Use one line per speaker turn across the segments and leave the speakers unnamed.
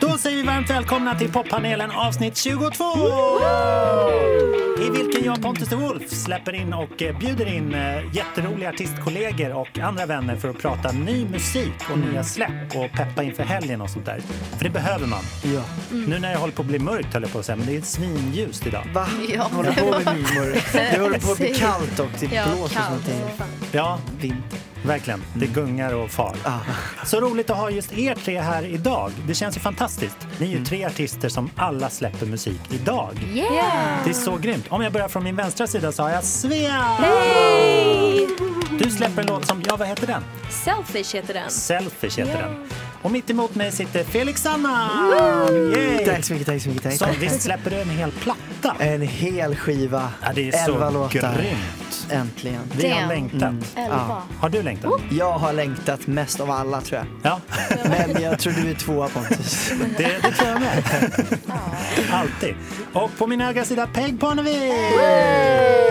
Då säger vi varmt välkomna till poppanelen avsnitt 22! I vilken jag, Pontus de Wolf, släpper in och eh, bjuder in eh, jätteroliga artistkollegor och andra vänner för att prata ny musik och nya släpp och peppa inför helgen och sånt där. För det behöver man.
Ja.
Nu när jag håller på att bli mörkt höll jag på att säga, men det är svinljust idag.
Va?
Ja.
Håller på med mimor. Det håller på att bli
Precis.
kallt och det
Ja,
blåser
kallt
någonting.
som fan.
Ja,
Vinter.
verkligen. Det gungar och far.
Ah.
Så roligt att ha just er tre här idag. Det känns ju fantastiskt. Ni är ju tre artister som alla släpper musik idag.
Yeah!
Det är så grymt. Om jag börjar från min vänstra sida så har jag Svea! Du släpper en låt som, ja vad heter den?
Selfish heter den.
Selfish heter den. Och mitt emot mig sitter Felix Anna!
Tack så mycket, tack så mycket. Tack.
Som visst släpper du en hel platta?
En hel skiva.
Ja, det är
Elva
så
låtar. Mm.
grymt.
Äntligen.
Vi har
Damn.
längtat.
Elva.
Har du längtat?
Jag har längtat mest av alla tror jag.
Ja,
Men jag tror du är tvåa Pontus.
det, det tror jag med. Alltid. Och på min högra sida Peg Parnevik!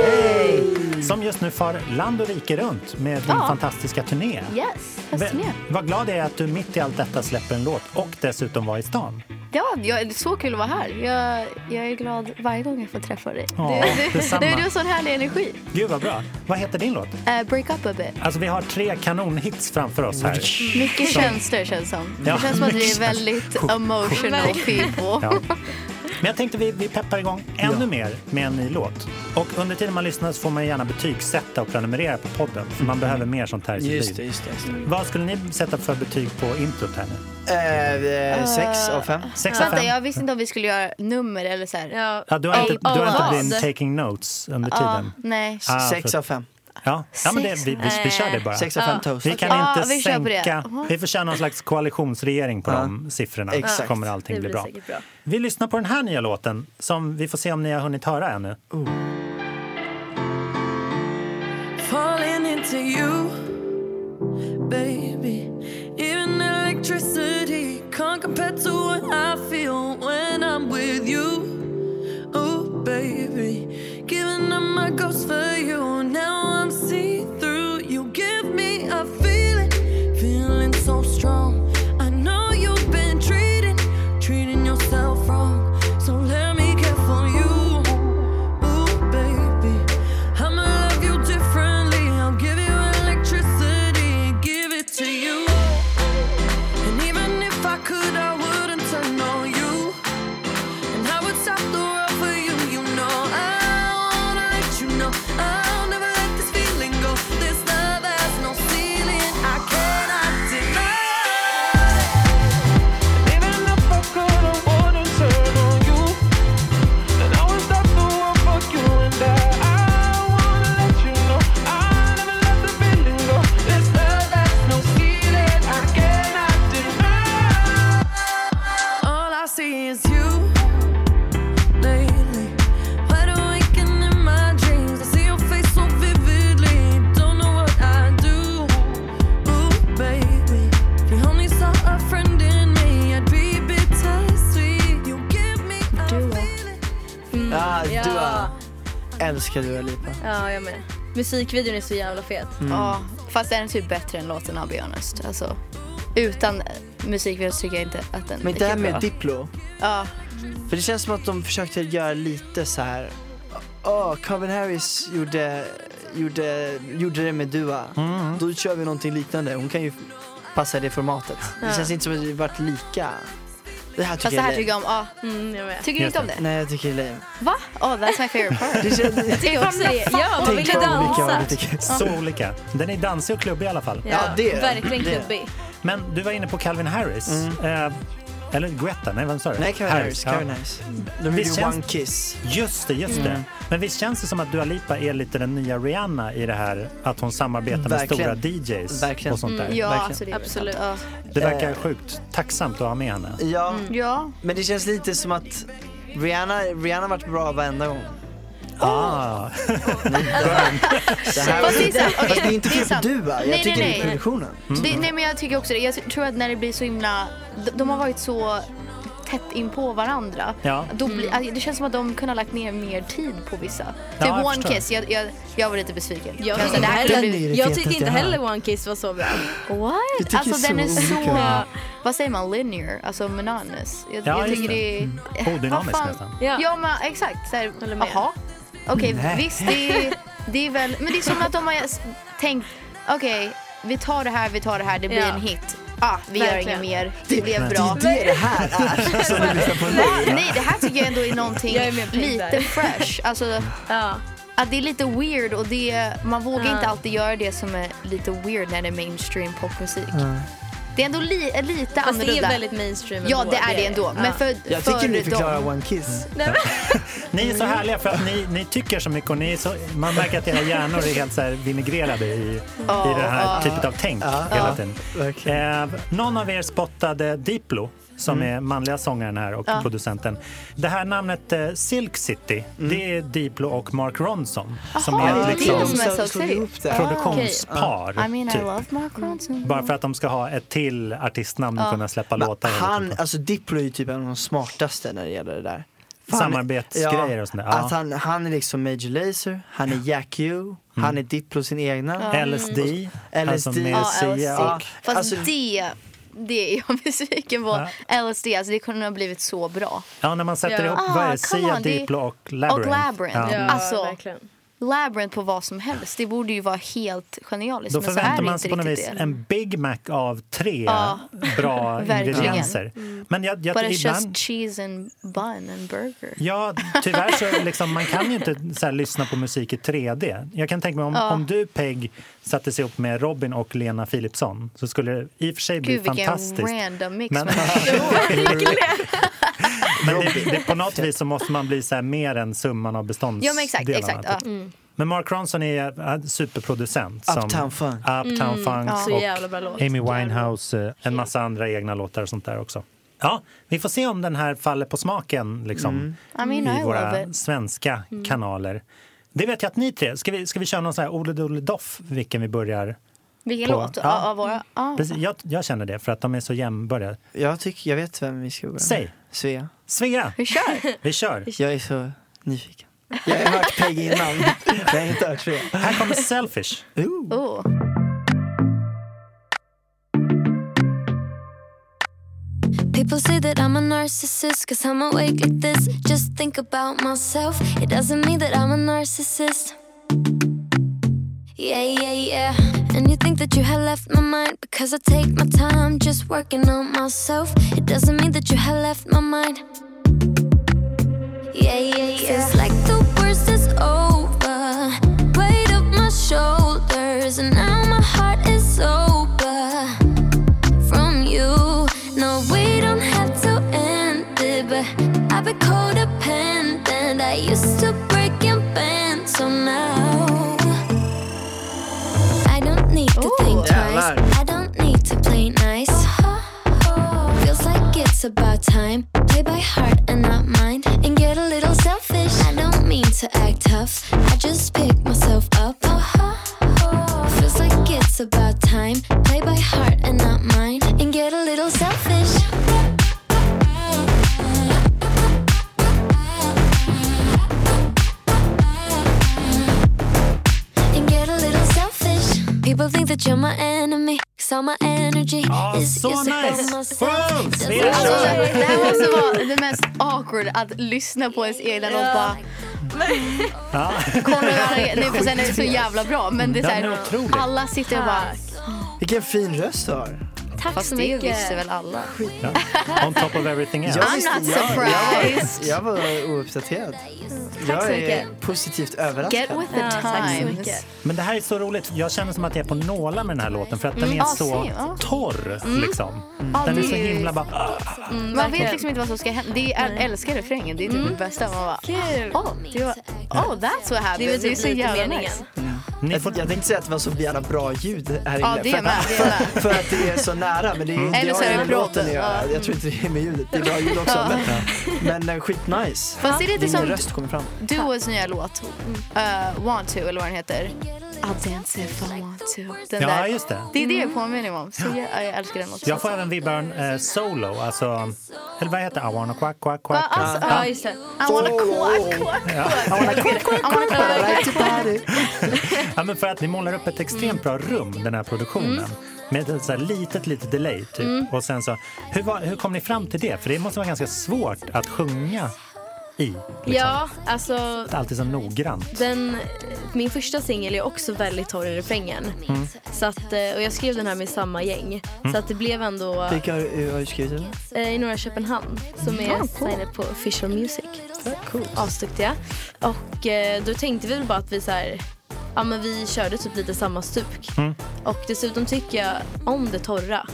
Hej! Som just nu far land och rike runt med din
Ja.
fantastiska turné.
Yes,
Men,
höstturné.
vad glad jag är att du mitt i allt detta släpper en låt och dessutom var i stan.
Ja, jag, det är så kul att vara här. Jag, jag är glad varje gång jag får träffa dig.
Ja, detsamma.
du, du har sån härlig energi.
Gud vad bra. Vad heter din låt?
Eh, break up a bit.
Alltså vi har tre kanonhits framför oss här.
Mycket känslor känns som.
Ja,
det känns som att vi
mycket
är väldigt emotional people.
Ja. Men jag tänkte vi, vi peppar igång ännu mer med en ny låt. Och under tiden man lyssnar så får man gärna betygsätta och prenumerera på podden. För man behöver mer sånt här i sitt
Mm. Just det,
liv.
just det. Just det.
Vad skulle ni sätta för betyg på introt här nu?
Eh, eh, sex av fem.
Sex av
Vänta,
fem?
jag visste inte om vi skulle göra nummer eller så här.
Ja, du har inte, du har
vad?
inte blivit taking notes under
Ja,
tiden?
nej.
Ah,
Sex
för-
av fem.
Ja, ja men det, vi, vi, vi kör det bara.
Sex av fem toast.
Vi kan
Ja,
inte
vi kör på det.
sänka...
Mhm.
Vi får köra någon slags koalitionsregering på de siffrorna.
Exakt.
Så kommer allting bli bra. Vi lyssnar på den här nya låten som vi får se om ni har hunnit höra ännu.
Oh.
falling into you, baby. Even electricity can't compare to what I feel when I'm with you. Ooh, baby. Giving up my ghost for you. Now I'm see through. You give me a feeling, feeling so strong. I know you've been treating, treating yourself wrong. So let me care for you. Ooh, baby, I'ma love you differently. I'll give you electricity, give it to you. And even if I could, I wouldn't turn on you. And I would stop the world for you, you know. I wanna let you know I'll never let this feeling go. This love has no ceiling. I cannot deny. Even if I could, I wouldn't turn on you. And I will stop the world for you and I. I wanna let you know I never let the feeling go. This love has no ceiling. I cannot deny. All I see is you lately. Wide awake and in my dreams, I see your face so vividly. Don't know what I do, ooh baby. If you only saw a friend in me, I'd be bittersweet. You give me a feeling.
Ah,
Ja.
Dua. Älskar Dua Lipa.
Ja, jag med. Musikvideon är så jävla fet.
Ja, fast den är typ bättre än låten I'll be honest. Alltså, utan eh, musikvideo så tycker jag inte att den
Men
är
det här
lika bra.
med Diplo.
Ja,
För det känns som att de försökte göra lite så här. Åh, Calvin Harris gjorde, gjorde, gjorde det med Dua.
Mm.
Då kör vi någonting liknande. Hon kan ju passa det formatet. Det känns inte som att det varit lika. Det här tycker
fast det här
jag är
tycker
lame.
jag om. Ja.
Mm, jag med.
Tycker du
Just
inte om det?
Nej, jag tycker det är lame.
Va? Oh, that's my favorite part.
Det känns...
Tycker också det. Ja, man ville
Tänk vad olika
dansa.
man tycker.
Så olika. Den är dansig och klubbig i alla fall.
Ja, det är-
Verkligen
det är-
klubbig.
Men du var inne på Calvin Harris. Eh, eller Guetta, nej vem sa du?
Mm. Nej, Calvin Harris.
ja.
Calvin Mm. Harris. De gjorde
Visst
ju
känns-
One Kiss.
Just det, just det. Men visst känns det som att Dua Lipa är lite den nya Rihanna i det här att hon samarbetar med
Verkligen.
stora DJs
Verkligen.
och sånt där.
Ja,
Verkligen.
alltså det är väl
Absolut.
sant. Ja.
Det verkar sjukt tacksamt att ha med henne.
Ja,
Ja,
men det känns lite som att Rihanna, Rihanna har varit bra varenda gång.
Ah,
Det här
Fast det är sant. Okej,
Fast det är inte
det är
fel på
sant.
Dua. Jag
Nej,
tycker
nej,
det är
nej.
produktionen.
Mm.
Det, nej men jag tycker också det. Jag tror att när det blir så himla, de, de har varit så tätt in på varandra.
Ja.
Då
Mm.
blir, alltså, det känns som att de kunde ha lagt ner mer tid på vissa.
Ja,
typ
jag
One
förstår.
Kiss, jag, jag, jag var lite besviken.
Jag
Jag sa,
tycker
Alltså, det
inte
här kunde
Den är
bli-
ju det
heller, jag
fetaste
tycker inte
jag har.
heller One Kiss var så bra.
What?
tycker
Alltså
så
den är så...
olika.
vad säger man, linear, alltså monotonous. Jag,
Ja,
jag
just
tycker
det.
det är...
Odynamiskt
Vad fan?
nästan. Mm.
Ja.
Ja men exakt, såhär,
Håller med.
jaha. Okej
Nej.
visst det är, det är väl, men det är som att de har s- tänkt, okej vi tar det här, vi tar det här, det blir
Ja.
en hit. Ah, vi gör
Verkligen.
inget mer, det blev
Nej.
bra.
Det är det här är.
Så du lyssnar på en
Nej,
låt,
nej, det här tycker jag ändå är någonting
Jag är med på
lite
där.
fresh. Alltså,
Ja.
att det är lite weird och det, man vågar
Ja.
inte alltid göra det som är lite weird när det är mainstream popmusik. Det är ändå li, lite
Fast det
annorlunda.
är väldigt mainstream
ja,
ändå,
det är det ändå. Men för,
Jag
för
tycker ni förklarar
dem.
One Kiss.
Nej, men,
Ni är så härliga för att ni, ni tycker så mycket och ni är så, man märker att era hjärnor är helt så här vinägrerade i, i den här
Ja.
typen av tänk
Ja,
hela
ja.
tiden.
Verkligen.
Eh, någon av er spottade Diplo som är manliga sångaren här och
Mm. Ja.
producenten. Det här namnet eh, Silk City,
Mm.
det är Diplo och Mark Ronson som
Jaha,
är
det
ett
är
liksom,
de som är
slog-
Silk
slog
City.
ihop det.
produktionspar.
I mean I
typ.
love Mark Ronson.
Bara för att de ska ha ett till artistnamn och kunna släppa
Men
låtar. hela
Han,
tiden.
alltså Diplo är ju typ en av de smartaste när det gäller det där. Fan,
Samarbetsgrejer och sånt där, ja. Mm.
Att han, han är liksom Major Lazer, han är Jack U, han är Diplo sin egna.
LSD,
Mm.
alltså
LSD.
med
Ja,
Sia.
Ja,
Fast
alltså-
det, det är jag besviken på. LSD, alltså det kunde ha blivit så bra.
Ja, när man sätter
Ja.
ihop, vad är det?
Ah, come
Sia,
on, det-
Diplo och Labyrinth.
och Labyrinth.
Ja.
ja,
Alltså,
verkligen.
Labyrinth på vad som helst, det borde ju vara helt genialiskt.
Då
men så är
förväntar
det
man
inte
sig på något
riktigt
vis
det.
en Big Mac av tre
Ja.
bra
Verkligen. Mm.
ingredienser. Men jag,
But
jag,
it's
ibland...
just cheese and bun and burger.
Ja, tyvärr så liksom, man kan ju inte så här, lyssna på musik i 3D. Jag kan tänka mig om, om du Peg satte sig upp med Robin och Lena Philipsson så skulle det i och för sig bli
Gud vilken
fantastiskt.
random mix.
Men,
man-
men det, det, på något vis så måste man bli så här, mer än summan av beståndsdelarna.
Ja men exakt, exakt.
typ.
Ja.
Mm.
Men Mark Ronson är eh, superproducent.
Uptown Funk.
Uptown Funk
Mm, ja.
Så jävla bra
och
låt.
Amy Winehouse, eh, en massa andra egna låtar och sånt där också. Ja, vi får se om den här faller på smaken liksom,
I mean
i
Mm. I love
våra
it. Mm.
svenska kanaler. Det vet jag att ni tre, ska vi, ska vi köra någon sån här Ole Dole Doff, vilken vi börjar?
Vilken
på-
låt?
Ja.
Ja. Av våra? Ja.
Precis, Jag, jag känner det, för att de är så jämnbörjade.
Jag tycker, jag vet vem vi ska börja med.
Säg.
Svea.
Svea,
Vi kör!
vi kör!
Jag är så nyfiken. Jag har hört Peg innan, men jag har inte hört Svea.
Här kommer Selfish.
Ooh.
Oh.
People say that I'm a narcissist cause I'm awake like this. Just think about myself. It doesn't mean that I'm a narcissist. Yeah, yeah, yeah. And you think that you have left my mind because I take my time just working on myself. It doesn't mean that you have left my mind. Yeah, yeah, yeah. Feels like the worst is over. Weight of my shoulders, and now my heart is sober from you. No, we don't have to end it, but I've been codependent. I used to break and bend, so now I don't need to think twice.
Jävlar.
I don't need to play nice. Feels like it's about time. Play by heart and not mind, and get a little selfish. I don't mean to act tough. I just pick myself up. Feels like it's about time. Play by heart and not mind, and get a little selfish. And get a little selfish. People think that you're my enemy, cause all my energy
Ah,
is
so
used up on
nice.
myself.
Wow,
Doesn't
Svea,
matter.
kör.
Det här måste vara det mest awkward att lyssna på ens egna låt bara kommer att göra det. Nej, för Sen är det så jävla bra men det är så
Den är
här,
otrolig.
alla sitter och bara
Vilken fin röst du har.
Tack
fast
så
det
mycket.
visste väl alla.
Ja. On top of everything else.
Jag
I'm
visste-
not
jag-
surprised.
Jag var, jag var ouppdaterad.
Tack
Jag
så
är
mycket.
positivt överraskad.
Get with the
Ja, tack så
times.
mycket.
Men det här är så roligt. Jag känner som att jag är på nålar med den här låten för att den är
Ja,
så
same, ja.
torr. Liksom.
Ja,
Den är
Mm. det
så
är ju-
himla bara... ah.
Man vet liksom inte vad som ska hända. Det är, jag älskar refrängen, det är typ
Mm.
det bästa. Man bara,
Kul.
oh, det var, oh that's what
Det är
happened.
väl typ lite meningen.
Ni
Jag,
får...
jag tänkte säga att det var så jävla bra ljud här inne.
Ja, det
för,
är
att-
med. Det är med.
för att det är så nära. Men det, är, det
Eller så
har
är
ju
det
med låten att
plåten,
göra.
ja.
Jag tror inte det är med ljudet. Det är bra ljud också. Men, men eh, skitnice.
Fast det är lite
Din
som
röst kommer fram.
Duos nya låt, eh, Want to, eller vad den heter. I'll dance if I want to. Den
Ja,
där.
just det.
Det är det jag påminner mig om. Så jag, jag älskar den också.
Jag får även vibbar eh, solo, alltså... Eller vad heter det? I wanna quack, quack,
Ja,
quack.
alltså,
Ja, just det.
I wanna
Oh,
quack, quack, quack. I wanna quack, quack,
Right to body.
Mm.
Ja, men för att ni målar upp ett extremt bra rum, den här produktionen. Med ett så här litet, litet delay. Typ. Och sen så, hur, var, hur kom ni fram till det? För det måste vara ganska svårt att sjunga i. Liksom.
Ja, alltså
Alltid så noggrant.
den, min första singel är också väldigt torr i refrängen. Så att, eh, och jag skrev den här med samma gäng. Så att det blev ändå
Vilka har, hur har du skrivit den?
eh, i norra Köpenhamn som är signade på Official Music. Asduktiga. Och eh, då tänkte vi väl bara att vi så här, ja men vi körde typ lite samma stuk. Och dessutom tycker jag om det torra.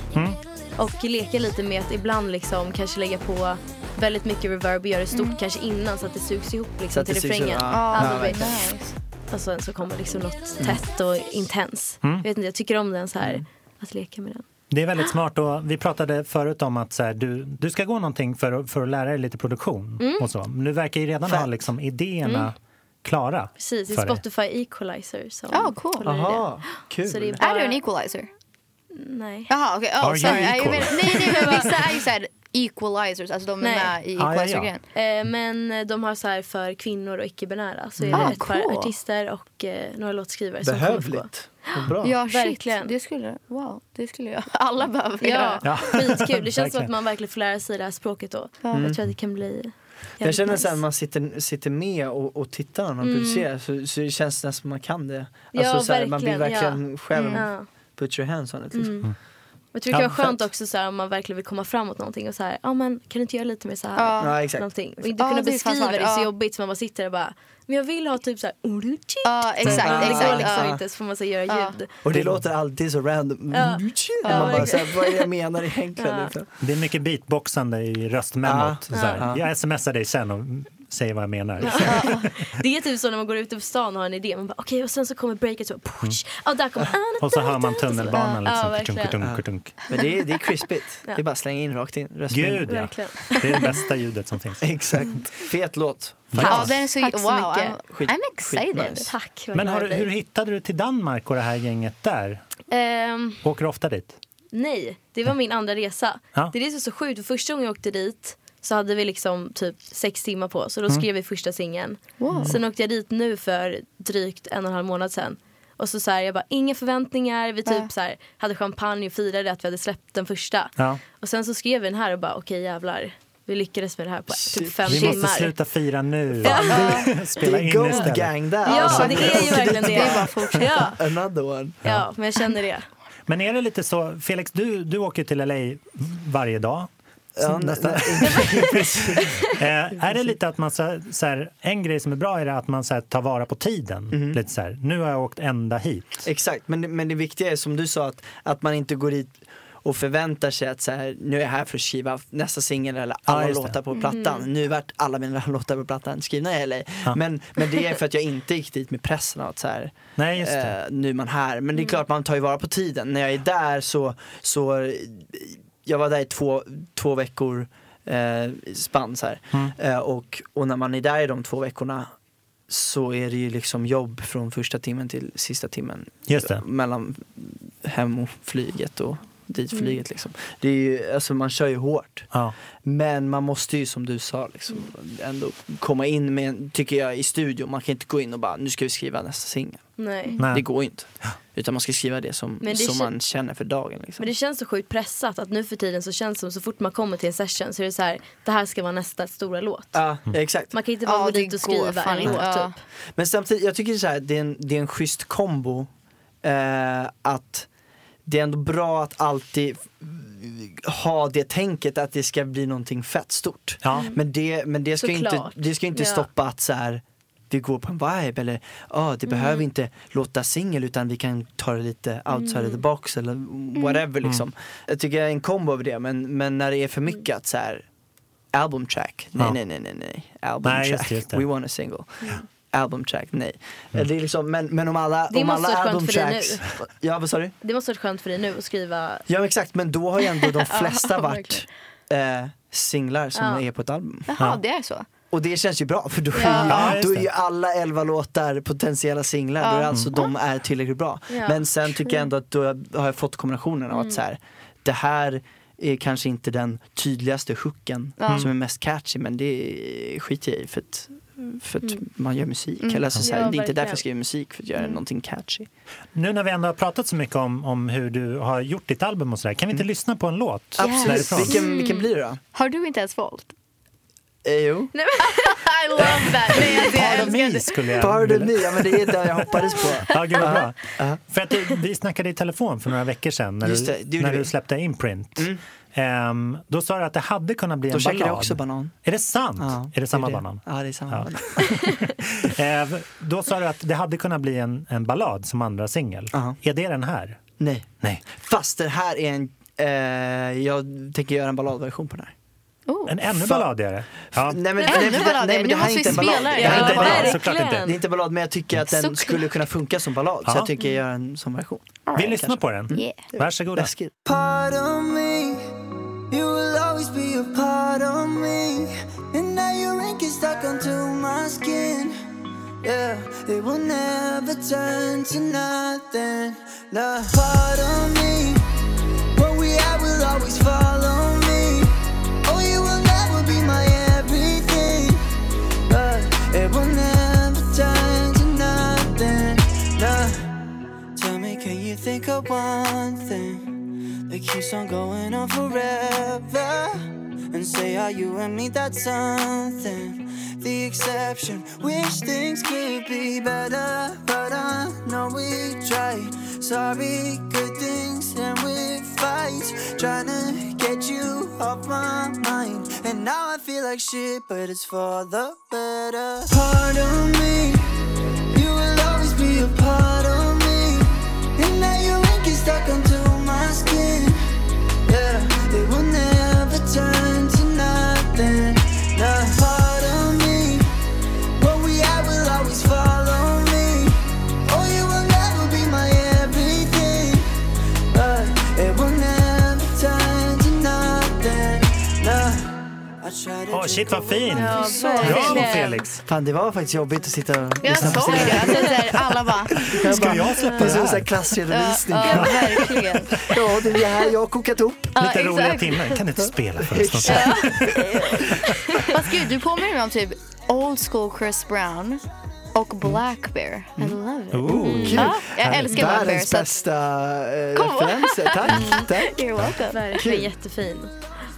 Och leka lite med att ibland liksom kanske lägga på väldigt mycket reverb och göra det stort kanske innan så att det sugs ihop liksom
Så att det
till
syns ju-
refrängen.
ja.
Ja,
Ah,
men-
nice.
Och sen så kommer liksom något tätt och intens. Jag vet inte, jag tycker om den så här, att leka med den.
Det är väldigt smart. Och vi pratade förut om att så här, du, du ska gå någonting för, att- för att lära dig lite produktion.
Mm.
Och så. Men du verkar ju redan ha
Fett.
liksom, idéerna klara.
Precis, det
för
är
dig.
Spotify Equalizer som
Ah, cool.
håller i det.
Aha, kul.
Så det är bara-
Är du en equalizer?
Nej.
Jaha, okej.
Are
Oh,
you
sorry. Ja, jag
equal?
menar- nej, nej, men vissa är ju såhär equalizers, alltså de är
Nej.
med i
Ah, ja, ja.
equalizer-grejen.
Eh, Men de har så här för kvinnor och icke-binära. Så är det
Mm. Ah,
ett par
cool.
artister och eh, några låtskrivare som kommer på.
Behövligt. Vad bra.
Ja, shit.
Verkligen.
Det skulle, wow, det skulle jag. Alla behöver
Ja,
göra.
Ja.
skitkul. Det känns som
Verkligen.
att man verkligen får lära sig det här språket då. Jag
Mm.
tror att det kan bli jävligt
Jag känner
nice.
såhär, man sitter, sitter med och, och tittar när man producerar så, så det känns nästan som man kan det.
Mm.
Alltså
Ja,
så här, man blir
verkligen,
verkligen själv,
Ja. Mm.
put your hands on it. Liksom.
Jag tror det kan
Ja,
vara skönt
fett.
också så här, om man verkligen vill komma framåt någonting och så här, ja men kan du inte göra lite mer så här?
Ja.
Ja, exakt.
Någonting. Och inte
Ja,
kunna
det är fan
beskriva det,
smart.
är så
Ja.
jobbigt så man bara sitter där och bara, men jag vill ha typ så här, "Oruchi."
Ja,
Men
exakt,
det går
exakt.
liksom
ja.
inte så får man så här, göra
Ja.
ljud.
Och det låter alltid så random. Mm.
Ja.
Man bara
verkligen.
såhär, vad är det jag menar egentligen?
Ja.
Liksom?
Det är mycket beatboxande i röstmemot.
Ja.
Så här.
Ja.
Jag smsar dig sen och säger vad jag menar.
Det är typ så när man går ute på stan och har en idé. Man bara okej och sen så kommer breaket så
Mm.
push. Ja där kommer
Och så hör man tunnelbanan.
Ja,
Liksom.
verkligen.
Kutunk, kutunk, kutunk.
Men det är, det är crispigt. Det är bara att slänga in rakt in. rösten in.
Gud, ja.
Verkligen.
Det är det bästa ljudet som finns.
Exakt. Fet låt.
Ja, den är så,
Tack så
wow,
mycket.
I'm,
Skit-
I'm excited.
skitnice.
Tack. vad
Men
glad
har,
jag
du-
blir.
hur hittade du till Danmark och det här gänget där?
Ehm,
Åker du ofta dit?
nej, det var min andra resa.
Ja.
Det är det som är så sjukt. För första gången jag åkte dit så hade vi liksom typ sex timmar på oss. Så då
Mm.
skrev vi första singeln. Sen åkte jag dit nu för drygt en och en halv månad sedan. Och så, så här, jag bara, inga förväntningar. Vi typ så här, hade champagne och firade att vi hade släppt den första.
Ja.
Och sen så skrev vi den här och bara okej jävlar. Vi lyckades med det här på typ fem
Vi
timmar.
måste sluta fira nu.
Det
Spela in
är gold
istället.
gang där.
Ja,
alltså.
det är ju verkligen det.
Det är bara att fortsätta.
Ja,
Another one.
ja, men jag känner det.
Men är det lite så, Felix, du, du åker till LA varje dag.
Ja,
Nästan. Eh, är det lite att man så, så här, en grej som är bra är det att man så här, tar vara på tiden.
Mhm.
Lite så här, nu har jag åkt ända hit.
Exakt, men, det- men det viktiga är som du sa att, att man inte går dit och förväntar sig att så här, nu är jag här för att skriva nästa singel eller alla
Ja, just det.
låtar på plattan. Nu vart alla mina låtar på plattan skrivna i LA. Men, men det är för att jag inte gick dit med pressen att så här,
Nej, just det.
eh, nu är man här. Men det är klart man tar ju vara på tiden. När jag är där så, så eh, jag var där i två, två veckor eh, i spann så här.
Mm.
Eh, och, och när man är där i de två veckorna så är det ju liksom jobb från första timmen till sista timmen.
Just det.
eh, Mellan hem och flyget och dit
Mm.
flyget liksom. Det är ju, alltså man kör ju hårt.
Ja.
Men man måste ju som du sa liksom, ändå komma in med, tycker jag, i studion. Man kan inte gå in och bara, nu ska vi skriva nästa singel.
Nej.
Nej.
Det går ju inte. Utan man ska skriva det som,
Men det
som
kän-
man känner för dagen. Liksom.
Men det känns så sjukt pressat att nu för tiden så känns det som så fort man kommer till en session så är det så här, det här ska vara nästa stora låt.
Ja, exakt.
Man kan inte bara
Ja,
gå
det
dit och
går
skriva
fan
en
inte.
låt
Ja.
typ.
Men samtidigt, jag tycker så här, det, är en, det är en schysst kombo eh, att det är ändå bra att alltid ha det tänket att det ska bli någonting fett stort.
Ja.
Men, det, men det, ska ju inte,
Såklart.
det ska ju inte
Ja.
stoppa att så här, vi går på en vibe eller ah,
Mm.
det behöver inte låta singel utan vi kan ta det lite outside of the
Mm.
box eller whatever
Mm.
liksom. Jag tycker det är en kombo av det men, men när det är för mycket att så här, album track, nej
Ja.
nej nej nej nej, album
Nej,
track,
just det, just det.
we want a single.
Mm.
Album track, nej. Det är liksom, men, men om alla,
Det
om
måste
alla
vara skönt
album
för dig
tracks... Ja vad sa du?
Det måste varit skönt för dig nu att skriva.
Ja men exakt, men då har ju ändå de flesta varit
verkligen.
eh, singlar som
Ja.
är på ett album.
Jaha, det är så.
Och det känns ju bra för då,
Ja, just
då är
det.
ju alla elva låtar potentiella singlar. Då är det alltså de är tillräckligt bra.
Ja,
Men sen tycker jag ändå att då har jag fått kombinationen av
Mm.
att så här, det här är kanske
Mm.
inte den tydligaste hooken som är mest catchy men det skiter jag i för att för att
Mm.
man gör musik. Eller alltså, så här,
Ja,
det är inte
verkligen.
därför jag skriver musik, för att göra någonting catchy.
Nu när vi ändå har pratat så mycket om, om hur du har gjort ditt album och sådär, kan vi inte lyssna på en låt?
Mm. Absolut.
därifrån?
Vilken, vilken blir det då?
Har du inte ens valt?
Eh, jo.
I love that! Nej, alltså, jag
Pardon
älskar
me
det.
skulle jag
Pardon
vilja-
me, ja, men det är det jag hoppades på.
Ja, gud vad bra. För att du- vi snackade i telefon för några veckor sedan när,
Just det, det
du,
gjorde
när du
vi. Mm.
släppte Imprint. Ehm, då sa du att det hade kunnat bli
Då
en
käkade
ballad.
jag också banan.
Är det sant?
Ja,
är det samma
är
banan?
Ja, det är samma
Ja.
banan.
Ehm, då sa du att det hade kunnat bli en, en ballad som andra singel.
Ja.
Är det den här?
Nej.
Nej.
Fast det här är en... Eh, jag tänker göra en balladversion på den här.
En ännu
Fan.
balladigare? Ja.
Nej, men,
Ännu
nej, men det-
ballader.
nej, men
Nu
det här
måste
är inte
vi
en
spela
ballad.
det.
Det här är inte en
Ja,
ballad.
såklart inte.
verkligen.
Det är inte ballad, men jag tycker att den
Såklart. Mm.
skulle kunna funka som ballad. Så
Ja.
jag tänker göra en sån version.
Vi lyssnar på den.
Yeah.
Varsågoda.
Läskigt.
part of me. You will always be a part of me. And now your ink is stuck onto my skin. Yeah, it will never turn to nothing. Now, part of me. What we are will always follow me. Oh, you will never be my everything. But it will never turn to nothing. Now, tell me, can you think of one thing? It keeps on going on forever. And say, are you and me? That's something. The exception. Wish things could be better, but I know we try. Sorry, good things and we fight. Trying to get you off my mind. And now I feel like shit, but it's for the better. Part of me. You will always be a part of me. And now your ink is stuck onto my skin. Yeah, it will never turn to nothing. Not part of me. What we are will always follow me. Oh, you will never be my everything. But it will never turn to nothing. Nah, I try to
Åh, shit vad fin!
Ja,
Bra
verkligen.
Felix!
Fan, det var faktiskt jobbigt att sitta och
Jag
lyssna på
såg
sig.
det. Alltså, så här, alla bara...
Jag
Ska
bara-
jag släppa
Det är
det
som en sån här
här?
klassredovisning.
Ja, verkligen.
Ja, det är det här jag har kokat ihop.
Ja,
Lite roliga
exakt.
timmar. Kan du inte spela för oss? något?
Fast gud, du påminner mig om typ old school Chris Brown och Black Bear. I love it.
Ooh.
Ja, jag älskar Black Bear.
Världens
Så att,
bästa eh, referenser. Tack, tack.
you're welcome.
Verkligen jättefin.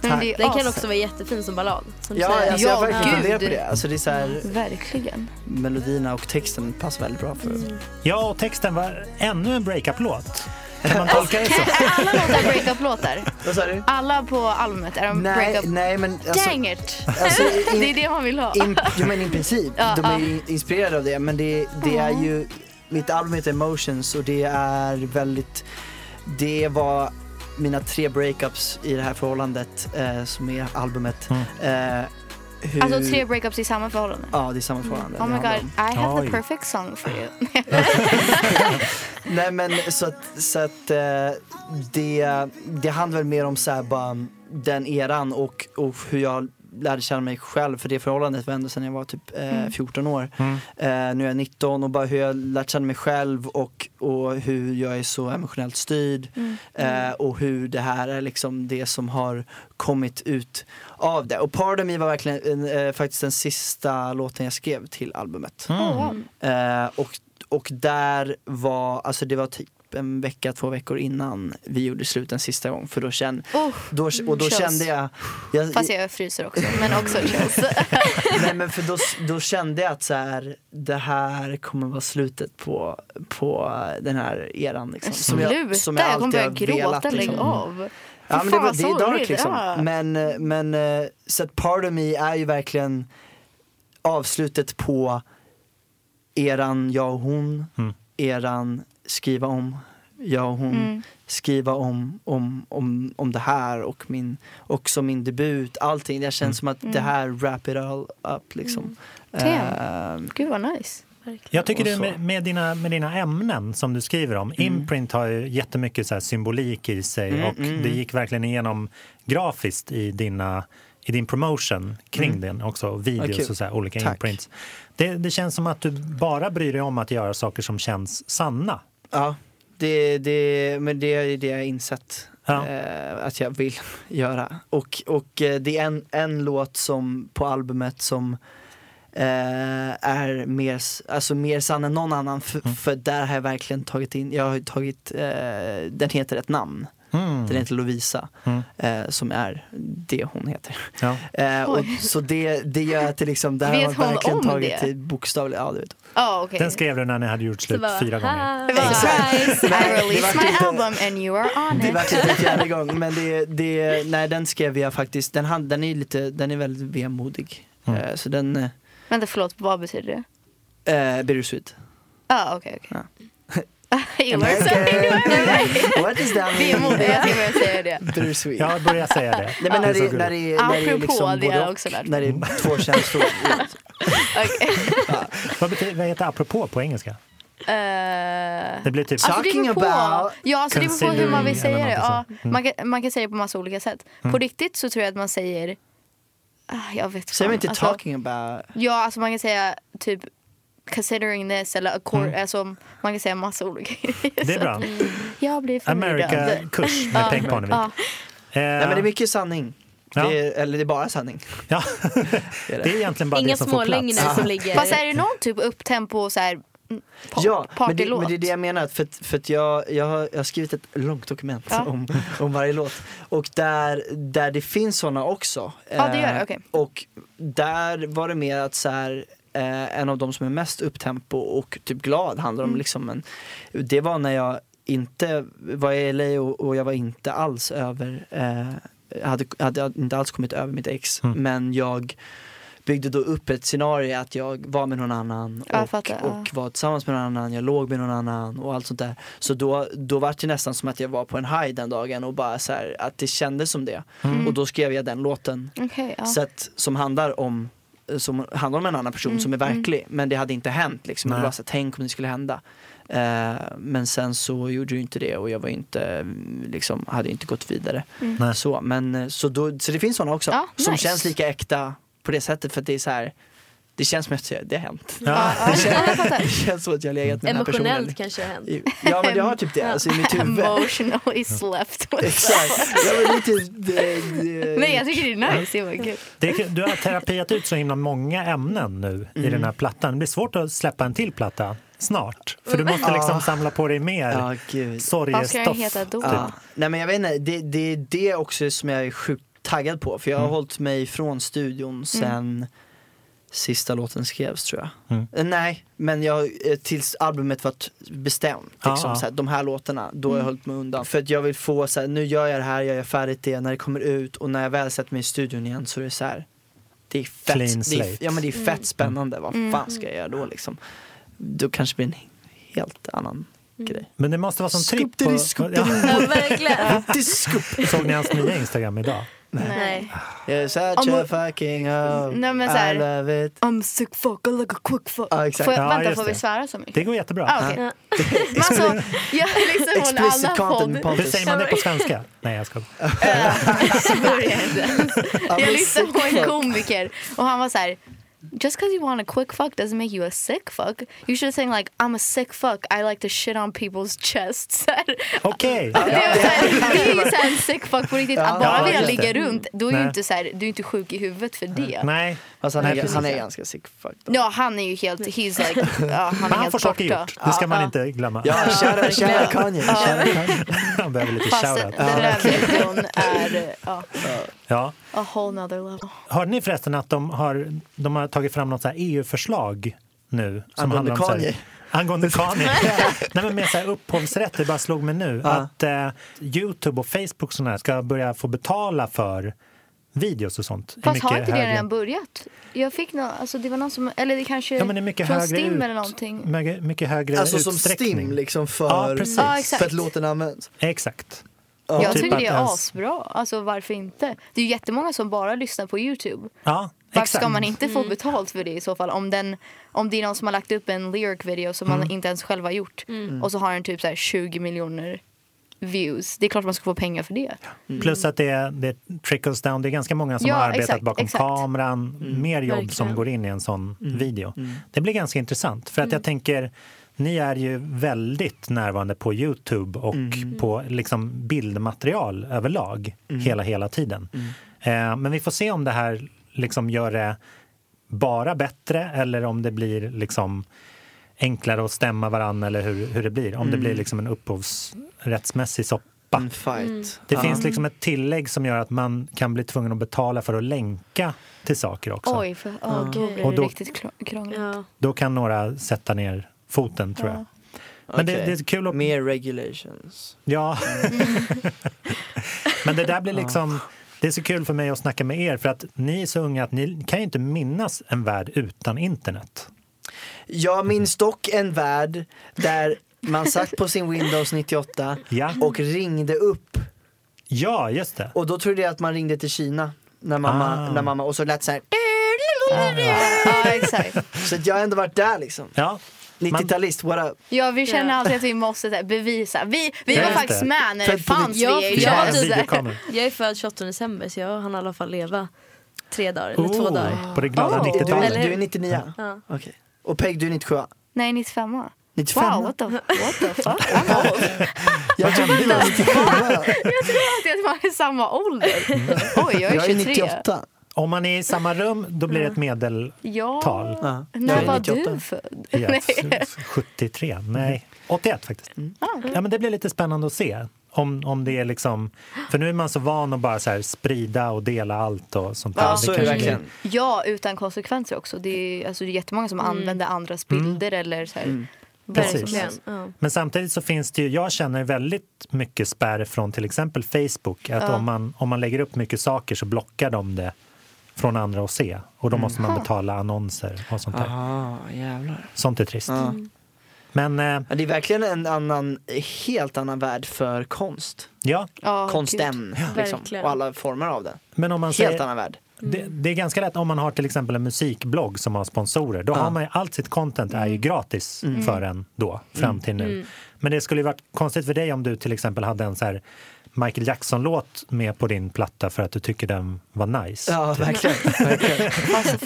Men det är
Den kan
as-
också vara jättefin som ballad. Som du
Ja,
säger.
alltså, jag
Ja,
har verkligen
gud.
funderat på det. Alltså, det är så här,
Verkligen.
melodierna och texten passar väldigt bra för
Ja, och texten var ännu en breakup-låt. Kan man tolka det så?
Är alla låtar break-up-låtar?
Vad sa du?
Alla på albumet, är de
Nej,
break-up?
nej men alltså,
Dang it!
alltså in,
Det är det man vill ha.
in, jag menar i princip,
Ja,
de
ja.
är ju inspirerade av det men det, det är ju, mitt album heter Emotions och det är väldigt, det var mina tre breakups i det här förhållandet eh, som är albumet. Eh, hur,
Alltså tre breakups i samma förhållande.
Ja, det är samma förhållande.
Oh
det
my
handlar
god,
om.
I have the
Oj.
perfect song for you.
Nej men så att, så att eh, det, det handlar väl mer om så här, bara, den eran och, och hur jag lärde känna mig själv för det förhållandet var ändå sedan jag var typ eh, 14 år.
Mm.
Eh, nu är jag 19 och bara hur jag lärt känna mig själv och, och hur jag är så emotionellt styrd eh, och hur det här är liksom det som har kommit ut av det. Och Pardon Me var verkligen eh, faktiskt den sista låten jag skrev till albumet.
Oh, wow.
Eh, och, och där var, alltså det var typ en vecka, två veckor innan vi gjorde slut en sista gång. För då kände,
Oh,
då, och då
Chills.
kände jag, jag
Fast jag fryser också, men också chills.
nej, men för då, då kände jag att så här, det här kommer vara slutet på, på den här eran. Liksom, som
Sluta,
jag, som jag
kommer
alltid
börja
har velat.
gråta, lägg
liksom.
av.
Ja, men det,
Fy fan,
var,
vad
det är dark
sorgligt.
liksom.
Ja.
Men, eh, men eh, så att Part of Me är ju verkligen avslutet på eran jag och hon, eran skriva om jag och hon,
Mm.
skriva om, om, om, om det här och min, också min debut, allting. Det känns som att
Mm.
det här wrap it all up liksom.
Damn.
Eh,
Gud vad nice.
Jag tycker
och
du
så. Mm.
med, med, dina, med dina ämnen som du skriver om, imprint har ju jättemycket så här symbolik i sig och
mm.
det gick verkligen igenom grafiskt i, dina, i din promotion kring den också, och videos
Mm. kul.
och så här, olika
Tack.
imprints. Det, det känns som att du bara bryr dig om att göra saker som känns sanna.
Ja, det, det, men det är det jag har insett
Ja.
eh, att jag vill göra. Och, och eh, det är en, en låt som på albumet som eh, är mer, s- alltså mer sann än någon annan för, för där har jag verkligen tagit in, jag har ju tagit, eh, den heter ett namn. Den heter Lovisa, eh, som är det hon heter.
Ja.
Eh, och,
Oj.
så det, det gör att det liksom, där har
Vet
jag
hon
verkligen
om
tagit
det?
till bokstavligt, ja du vet.
Ja, okej.
Den skrev du när ni hade gjort slut
bara,
Typ fyra gånger.
"Hi."
Guys, I
vart
released my
inte-
album and you are on
Det
it.
var inte en fjärde gång men det, det, nej den skrev jag faktiskt, den, hand, den är ju lite, den är väldigt vemodig.
Mm.
Eh, så den, eh,
Vänta, förlåt, vad betyder det?
eh, Bittersweet.
Ja, okej, okej. You learn something new every day.
Okay. What is that
Vi är
mean?
modiga, jag ska börja säga det.
Bittersweet.
Jag börjar säga det.
Nej men när
Det är
det,
så Mm.
när
gulligt.
det, när det är
Apropå,
liksom
det har
både
jag
och,
också lärt
när
mig.
det är två känslor.
Okej.
Vad, betyder, vad heter apropå på engelska?
Eh,
Det blir typ...
Alltså det beror
Talking
på,
about
ja, alltså det beror på hur man vill
considering
säga det.
eller
Ja,
något
man, kan, man kan säga det på massa olika sätt. På riktigt så tror jag att man säger... Ah, jag vet
Säger man
fan.
inte
alltså,
talking about?
Ja, alltså man kan säga typ considering this eller accord,
Mm.
alltså, man kan säga massa olika grejer. Alltså,
Det är bra.
Jag blir förvirrad.
America-kurs med Peng Parnevik.
Ja,
Nej men det är mycket sanning.
Ja.
Det är, eller det är bara sanning.
Eh, Ja,
Det är
det är
det.
egentligen bara
Inga
det som får
smålögner
plats.
som ligger...
fast är det någon typ upptempo så här, mm, pop,
Ja, men det,
partylåt?
men det är det jag menar. För, att- för att jag, jag, har, jag har skrivit ett långt dokument
Ja.
om, om varje låt. Och där, där det finns sådana också.
Ja, det gör det,
Eh,
okej.
Och där var det mer att så här, eh, en av de som är mest upptempo och typ glad handlar om
Mm.
liksom en, Det var när jag inte var i LA och, och jag var inte alls över, eh, hade, hade inte alls kommit över mitt ex. Men jag byggde då upp ett scenario att jag var med någon annan
Ja, jag
och,
fattar, ja.
och var tillsammans med någon annan, jag låg med någon annan och allt sånt där. Så då, då var det nästan som att jag var på en high den dagen och bara så här, att det kändes som det. Och då skrev jag den låten
Okej, ja.
så att, som handlar om eh, som handlar om en annan
Mm,
person som är verklig men det hade inte hänt liksom. Det
Nej.
var så här, tänk om det skulle hända. Eh, men sen så gjorde ju inte det och jag var inte, mm, liksom, hade inte gått vidare.
Nej.
Så, men, eh, så, då, så det finns sådana också
Mm. Ja,
som
nice.
känns lika äkta på det sättet för att det är så här det känns som att jag- det har hänt.
Ja, ja, jag fattar.
Det känns som att jag har legat med den här personen.
Emotionellt kanske det har hänt.
Ja men jag har typ det, alltså i mitt huvud.
Emotional is left.
Exakt. Ja, men det är typ, det, det,
Nej, jag tycker det är nice. Det var kul.
Det är, du har terapiat ut så himla många ämnen nu i
Mm.
den här plattan. Det blir svårt att släppa en till platta snart. För du måste liksom samla på dig mer
Ja, gud.
Mm. Vad ska den
sorgestoff. Typ.
heta då?
Ja. Nej men jag vet inte, det, det är det också som jag är sjukt taggad på. För jag
Mm.
har hållit mig från studion sen sista låten skrevs tror jag.
Mm.
Eh, Nej, men jag, eh, tills albumet var t- bestämt.
Ja,
Liksom,
ja.
så här, de här låtarna, då har jag hållit mig undan. För att jag vill få så här, nu gör jag det här, jag gör färdigt det, när det kommer ut och när jag väl sätter mig i studion igen så är det så här. Det är fett,
Clean
det är,
slate.
ja, men det är fett spännande, vad fan ska jag göra då liksom? Då kanske det blir en helt annan grej.
Men det måste vara som tripp.
Skup-diri,
På,
skup-diri.
ja,
Ja, verkligen.
Det är skupp!
såg ni hans nya Instagram idag?
Nej.
You're such
Om
a
hon-
fucking hoe.
Nej, men så
I
här-
love it.
I'm sick fuck, I like a quick fuck.
Ja, Ah, exakt.
Får jag,
Ja,
vänta,
just
får vi
det.
svära så mycket?
Det går jättebra.
Ah, okay. Men alltså, jag har liksom hon
Explicit
alla
content
podd...
Pontus.
Hur säger man det på svenska? Nej, jag ska. Äh,
Jag lyssnade på en komiker och han var så här... Just because you want a quick fuck doesn't make you a sick fuck. You should say like I'm a sick fuck. I like to shit on people's chests. Så här.
Okej.
Det är ju så här- det är ju så här en sick fuck på riktigt. Att
Ja,
bara vilja
just
ligga runt, då är ju
Nej.
inte, så här, du är inte sjuk i huvudet för det.
Nej.
Fast han,
Nej,
är,
precis.
han är ganska sick fuck. då.
Ja, han är ju helt, he's like, ja, han är
Men han
helt
får saker
borta.
gjort. Det ska
Ja,
man
ja.
inte glömma.
Ja, kära, kära
verkligen.
Kanye. Kära Kanye.
Han behöver lite
Fast
shoutout.
den där videon är ja,
Ja.
a whole nother level.
Hörde ni förresten att de har, de har tagit fram något så här EU-förslag nu? Som
Angående
handlar om så här-
Kanye.
Angående Kanye. Nej, men med så här upphovsrätt, det bara slog mig nu. Att eh, Youtube och Facebook såna här ska börja få betala för videos och sånt. i
Fast
mycket
har inte det
högre-
redan börjat? Jag fick nå, alltså det var någon som, eller det kanske
Ja, men det är mycket
från
högre
STIM
ut.
eller någonting.
mycket, mycket högre
Alltså som
utsträckning?
Stim liksom
Ja,
för,
precis.
Ja, exakt.
för att låten används.
Exakt.
Jag
Typ
tycker
att
det är
ens-
asbra, alltså varför inte? Det är ju jättemånga som bara lyssnar på Youtube.
Ja,
Varför
exakt.
ska man inte få betalt för det i så fall? Om, den, om det är någon som har lagt upp en lyric video som
Mm.
man inte ens själv har gjort och så har den typ så här 20 miljoner views. Det är klart man ska få pengar för det.
Plus att det, är- det trickles down. Det är ganska många som
Mm. Ja,
har arbetat
exakt,
bakom
exakt. Mm.
kameran. Mer jobb som
Verkligen.
går in i en sån video. Det blir ganska intressant. För att
Mm.
jag tänker, ni är ju väldigt närvarande på Youtube och
Mm.
på liksom bildmaterial
Mm.
överlag hela, hela tiden. Eh, men vi får se om det här liksom gör det bara bättre eller om det blir liksom enklare att stämma varandra eller hur, hur det blir. Om det
Mm.
blir liksom en upphovsrättsmässig soppa.
En fight.
Mm.
Det
Ja.
finns liksom ett tillägg som gör att man kan bli tvungen att betala för att länka till saker också.
Oj, för, oh, då blir
Och
det
då-
riktigt krång- krångligt.
Ja.
Då kan några sätta ner foten tror jag. Men det,
Okej.
det är kul att...
Mer regulations.
Ja. Men det där blir liksom... Det är så kul för mig att snacka med er för att ni är så unga att ni kan ju inte minnas en värld utan internet.
Jag minns dock en värld där man satt på sin Windows 98
Ja,
och ringde upp
ja just det.
och då trodde jag att man ringde till Kina när mamma,
Ah.
när mamma och så lät det så här.
Ja, exakt.
Så att jag har ändå varit där liksom.
Ja,
90-talist, what up?
Ja, vi känner
Ja.
alltid att vi måste så här, bevisa. Vi, vi
Ja,
var
just
faktiskt
det.
med när det
Född på
fanns
Ja,
VHS.
för jag
ja
var typ så här-
videokameror.
Jag är född 28 december så jag hann i alla fall leva tre dagar eller två dagar.
Oh, på det glada
Oh.
Du, är-
90-talet.
du är 99
Ja.
Okej. Och Peg, du är 97
Nej, 95 Wow,
95
what the, what the fuck? I'm old.
Jag trodde du var 97
Jag trodde alltid att man är samma ålder. Oj, jag är 23.
Jag är 98
Om man är i samma rum då blir det ett medeltal.
Ja.
ja. Jag
När
är
var
98.
du född?
Ja, 73, nej 81 faktiskt.
Mm.
Ja, men det blir lite spännande att se. Om, om det är liksom, för nu är man så van att bara så här sprida och dela allt och sånt där.
Ja, så är det
kanske
verkligen.
Ja, utan konsekvenser också. Det är, alltså, det är jättemånga som använder andras bilder eller så här. vad är det som
Precis.
helst.
Verkligen. Ja.
Men samtidigt så finns det ju, jag känner väldigt mycket spärr från till exempel Facebook. Att om, man, om man lägger upp mycket saker så blockar de det från andra att se. Och
Mm.
då måste man betala annonser och sånt där.
Ah, jävlar.
Sånt är trist.
Ja.
Mm.
Men eh,
Ja, det är verkligen en annan, helt annan värld för konst.
ja,
Ja, gud.
Konstämn liksom.
Verkligen.
och alla former av den.
men om man
Helt
säger,
annan värld.
det,
Mm.
det är ganska lätt om man har till exempel en musikblogg som har sponsorer. Då har man ju allt sitt content är ju gratis
Mm.
för en då, fram till nu.
Mm.
Men det skulle ju varit konstigt för dig om du till exempel hade en så här Michael Jackson-låt med på din platta för att du tycker den var nice.
Ja, verkligen. verkligen.
Alltså,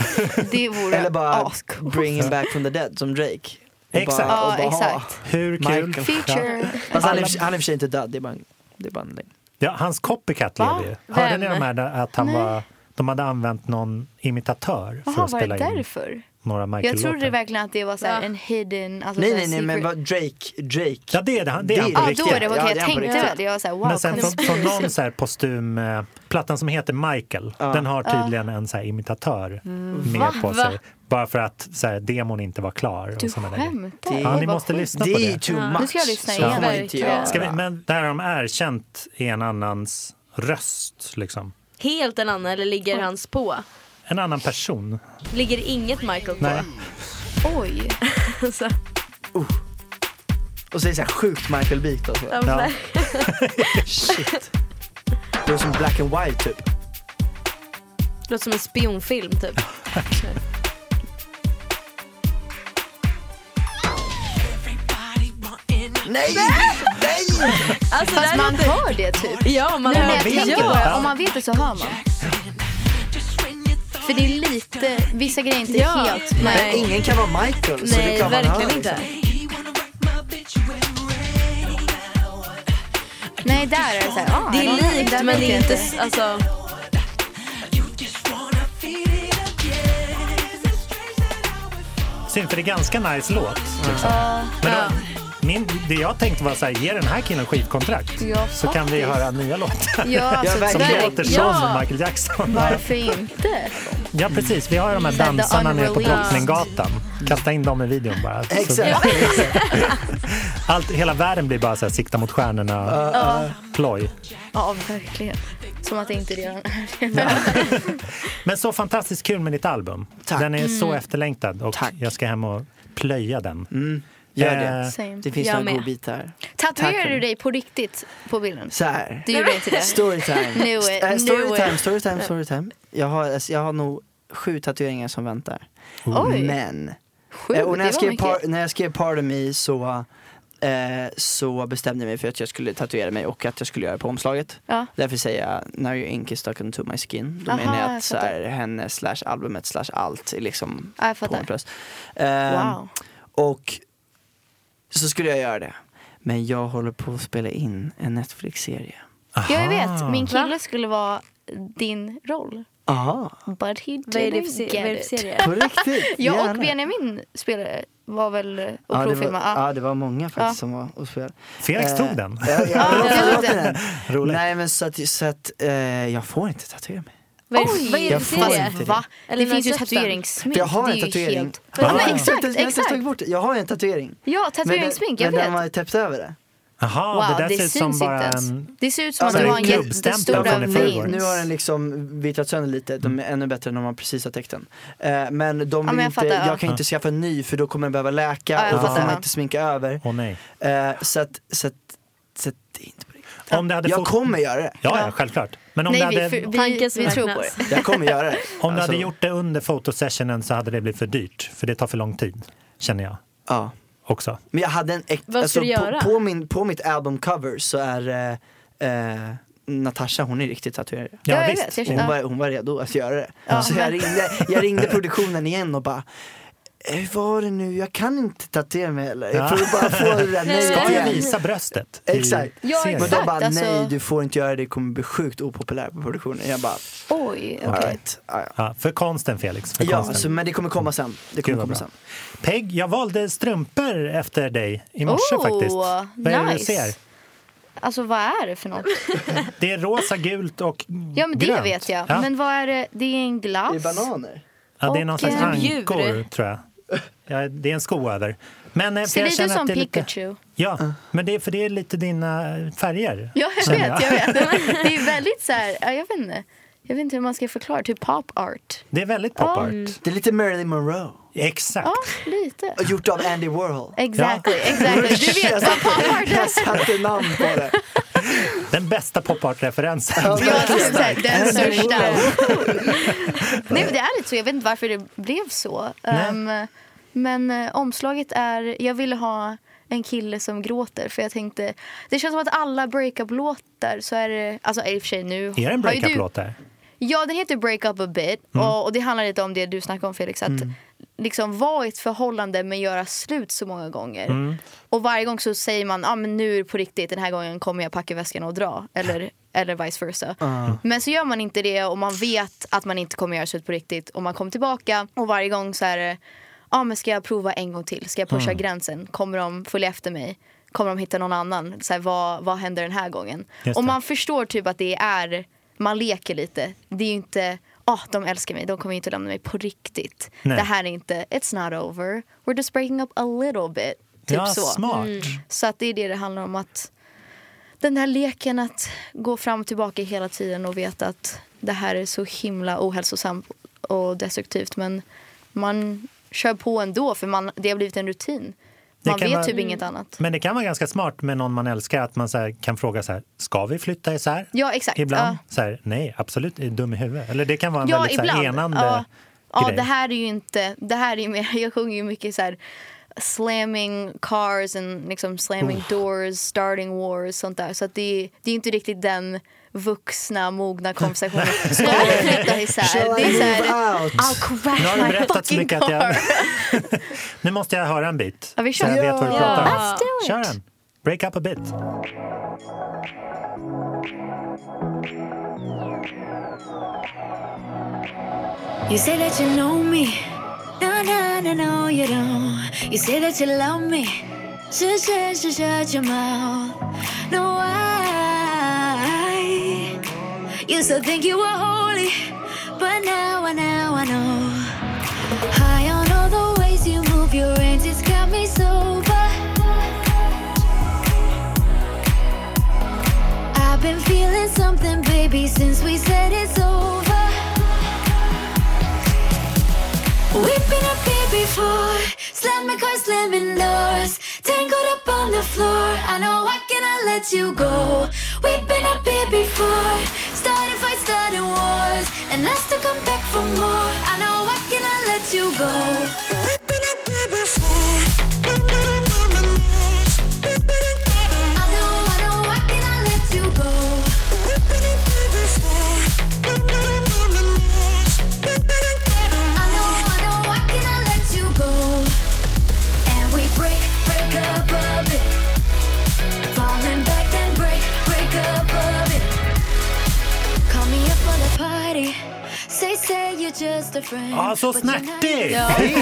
det vore
Typ. Eller bara
ascoolt.
bring him back from the dead som Drake. Och
Exakt.
Bara, och
Ja,
bara, ha.
exakt.
Hur kul?
Michael.
Ja.
Feature.
Fast han, är, han är i och för sig inte död, det är bara en, det är bara en lögn.
Ja, hans copycat
Va?
lever ju. Hörde
Vem?
ni de här där att han var, de hade använt någon imitatör för
Jaha,
att
var det
spela in
därför?
några
Jag trodde
Michael-låtar?
verkligen att det var så här
Va?
en hidden... Alltså
Nej,
så här
nej, nej, men
secret-
vad, Drake, Drake.
Ja, det är det. Han- Det är
Det
han
är
på
Ja,
det.
riktigt.
då är det
Ja,
okej.
det är
jag
han på
tänkte
riktigt.
väl det. Jag var så här, wow,
Men sen från, från någon så här postum... Eh, plattan som heter Michael,
Ja.
den har tydligen en så här imitatör med
Va?
på sig.
Va?
Bara för att så här, demon inte var klar.
Du
och såna där. grejer.
skämtar?
Det-
Ja, ni
Vad
måste
sjukt.
lyssna
Det
på
är ju
det.
too
Ja.
much.
Nu ska jag lyssna
Så
igen.
får man inte
Verkligen.
göra.
Ska vi, men det här har de erkänt är en annans röst, liksom.
Helt en annan eller ligger hans på?
En annan person.
Ligger inget Michael på?
Nej.
Oj.
Alltså,
Och så är det så här sjukt Michael Beat och så.
ja. men-
Shit. Det är som black and white typ.
Låter som en spionfilm typ.
Nej! Nej!
Alltså,
Fast
där
man
låter-
hör det typ.
Ja, man
Nej, men
hör
jag
vet
tänker
inte.
bara,
Ja.
om man vet det så hör man. För det är lite, vissa grejer är inte
Ja.
helt...
Nej.
Men ingen kan vara Michael. så det är
Nej,
klart man hör,
verkligen
liksom.
inte.
Nej, där är det så här, ah,
Det är
där-
likt
där
men
vet
det är
jag
inte... s- Alltså,
Synd, för det är ganska nice låt. Liksom. Men då, min, det jag tänkte var så här, ge den här killen skivkontrakt.
Ja,
så kan vi höra nya låtar
Ja, alltså,
som
verkligen.
där,
låter
Ja.
som Michael Jackson.
varför inte?
Ja, precis. Vi har ju de här
Så här, the
dansarna nere på
unreleased.
Drottninggatan. Kasta in dem i videon bara. Så-
liksom. Exakt.
Allt, hela världen blir bara så här, sikta mot stjärnorna-ploj.
Ja, verkligen. Som att det inte redan är det.
Men så fantastiskt kul med ditt album.
Tack.
Den är så
Mm.
efterlängtad och
Tack.
jag ska hem och plöja den.
Mm.
Gör
Eh,
det.
Same.
Det finns
Jag
några
med.
godbitar.
Tatuerar
Tack.
du dig på riktigt på bilden?
Så här.
Du gjorde inte det?
Storytime.
Knew
St-
it,
eh,
knew
Storytime,
it.
storytime, storytime. Jag har, alltså, jag har nog sju tatueringar som väntar.
Oj.
Men.
Sjukt,
Eh, och när
det
jag,
var
skrev par,
mycket.
när jag skrev Pardon Me så, eh, så bestämde jag mig för att jag skulle tatuera mig och att jag skulle göra det på omslaget.
Ja.
Därför säger jag Now your ink is stuck into my skin. Då
Aha,
menar jag
jag
att så
fattar.
här, henne slash albumet slash allt är liksom
Ja, jag
på
fattar.
en plats. Eh,
Wow.
Och så skulle jag göra det. Men jag håller på att spela in en Netflix-serie.
Ja, jag vet. Min kille skulle vara din roll.
Aha,
But he
Vad är det för,
didn't
se-
get
vad är det för
it.
serie?
på riktigt?
Jag och
Gärna.
Benjamin spelade, var väl Ah, och
Ja det, var,
provfilmade. Ja.
ja, det var många faktiskt
Ja.
som var och spelade.
Felix
Eh,
tog den.
Ja, ja,
det
jag
var
åt
det.
den.
Roligt.
Nej men så att, så att eh, jag får inte tatuera mig.
Vad är det för- vad är det
Jag
för
får
serie?
inte.
Va?
Eller
det finns ju
när släpps den?
tatueringssmink.
För jag har en
det är ju
tatuering.
helt-
Jag har
Ja, men
inte- jag
exakt,
har inte tagit
exakt.
bort det. Jag har en tatuering.
Ja,
Men den-
tatueringssmink, jag
Men den
vet.
var ju täppt över det.
Jaha,
Wow,
det där ser ut som
syns
bara
inte ens.
en...
Det ser ut som
Ja,
att du
men
har en
det är
klubbstämpel
jättestora
från i förrgår.
veins.
nu har den liksom vittrat sönder lite, de är
Mm.
ännu bättre när man precis har täckt den. Eh, men de
men
vill
jag
inte,
fattar, ja.
jag kan inte skaffa en ny för då kommer den behöva läka
Ja, jag
och då
fattar,
får man
ja.
inte sminka över.
Åh nej.
Eh, så att, så att, så att det är inte på riktigt.
Om det hade
Jag
fått-
kommer göra det.
Ja, ja, självklart. Men om,
Nej,
det
vi,
hade,
för-
Tanken
vi,
som
vi tror på det.
räknas.
Jag kommer göra det.
om du
Alltså,
hade gjort det under fotosessionen så hade det blivit för dyrt, för det tar för lång tid, känner jag
Ja.
också.
Men jag hade en äkt, alltså,
Vad ska du göra?
På, på, min, på mitt albumcover så är eh, eh, Natasha, hon är riktigt tatuerad.
Ja,
Ja,
jag
visst.
vet, jag
Hon,
Ja.
var, hon var redo att göra det.
Ja,
så jag
men-
ringde, jag ringde produktionen igen och bara "Eh, hur var det nu, jag kan inte tatuera mig eller? Jag
Ja.
får bara få det där nej
Ska jag
igen."
visa bröstet? i
Exakt.
Ja,
serien?
Men de bara
Exakt,
nej
alltså.
du får inte göra det, det kommer bli sjukt opopulär på produktionen. Jag bara
Oj, okej.
alright. Ja, ja.
Ja, för konsten, Felix. För
Ja,
konsten.
alltså-
så, men det kommer komma sen. Det
Gud,
kommer
vad
komma
bra.
sen.
Peg, jag valde strumpor efter dig i morse
Oh,
faktiskt. Vad är det du
nice.
ser?
Alltså vad är det för något?
Det är rosa, gult och
Ja men det
grönt.
vet jag.
Ja.
Men vad är det? Det är en glass.
Det är bananer.
Ja, det är någon
Och,
slags
eh,
ankor,
djur.
tror jag. Ja, det är en sko över. Men, eh, för
Ser
jag
lite
känner att
som
det är lite-
Pikachu.
Ja, men det är, för det är lite dina färger.
Ja, jag
känner
vet, jag vet. Det är väldigt så här, ja, jag vet inte. Jag vet inte hur man ska förklara, typ pop art.
Det är väldigt pop
Ja.
art.
Det är lite Marilyn Monroe.
Exakt.
Ja, lite.
Och Gjort av Andy Warhol.
Exactly, exactly. Du vet vad pop art är.
Jag satte namn på det.
Den bästa pop art-referensen.
Ja,
Ja, det är så här, den
Andy
största.
Warhol.
Nej men det är lite så, jag vet inte varför det blev så. Ehm, men eh, omslaget är, jag ville ha en kille som gråter för jag tänkte, det känns som att alla breakup-låtar så är det, alltså i och för sig nu.
Är det en
har ju du-
breakup-låt där?
Ja, den heter Break Up A Bit.
Mm.
Och, och det handlar lite om det du snackade om Felix. Att liksom vara i ett förhållande men göra slut så många gånger.
Mm.
Och varje gång så säger man, ah, men nu är det på riktigt, den här gången kommer jag packa väskan och dra. Eller, eller vice versa.
Ah.
Men så gör man inte det och man vet att man inte kommer göra slut på riktigt. Och man kommer tillbaka och varje gång så är det, ah, men ska jag prova en gång till? Ska jag
Mm.
pusha gränsen? Kommer de följa efter mig? Kommer de hitta någon annan? Så här, vad, vad händer den här gången?
Just
Och
det.
man förstår typ att det är, man leker lite. Det är ju inte, ah de älskar mig, de kommer ju inte lämna mig på riktigt.
Nej.
Det här är inte, it's not over, we're just breaking up a little bit. Typ
ja,
så.
smart.
Så att det är det det handlar om att den här leken att gå fram och tillbaka hela tiden och veta att det här är så himla ohälsosamt och destruktivt men man kör på ändå för man, det har blivit en rutin.
Det
Man
kan
vet
vara-
typ inget annat.
Men det kan vara ganska smart med någon man älskar att man så här, kan fråga så här, ska vi flytta isär?
Ja, exakt.
Ibland
Ja.
så här, nej, absolut, är du dum i huvudet. Eller det kan vara en
Ja,
väldigt så här,
ibland.
enande
ja. ja,
grej.
det här är ju inte... Det här är ju mer, jag sjunger ju mycket så här slamming cars and liksom slamming doors, starting wars sånt där. Så att det, är- det är inte riktigt den vuxna, mogna konversationen. Ska vi flytta
Shall
isär? Det
I
är så
move
här,
out?
I'll
Nu har
crash
du
my
berättat så
fucking
mycket att jag...
car.
nu måste jag höra en bit.
Ja, vi
så
kör.
jag vet vad du
Ja.
pratar om.
Let's
do it.
Kör den. Break up a bit.
You say that you know me. No, no, no, no, you don't. You say that you love me. Shut, shut, shut, shut your mouth. No, I used to think you were holy, but now I, now I know. High on all the ways you move your hands, it's got me sober. I've been feeling something, baby, since we said it's over. We've been a bit before, slamming cars, slamming doors, tangled up on the floor. I know I cannot let you go. We've been a bit before, starting fights, starting wars, and us to come back for more. I know I cannot let you go. We've been a bit before. I know, I know, I cannot let you go. We've been a bit before. I know, I know, I cannot let you go. And we break, break up a bit. Falling back, then break, break up a bit. Call me up for the different.
Ja, Ah, så
but you're not
snärtig!
Ja,
Det är en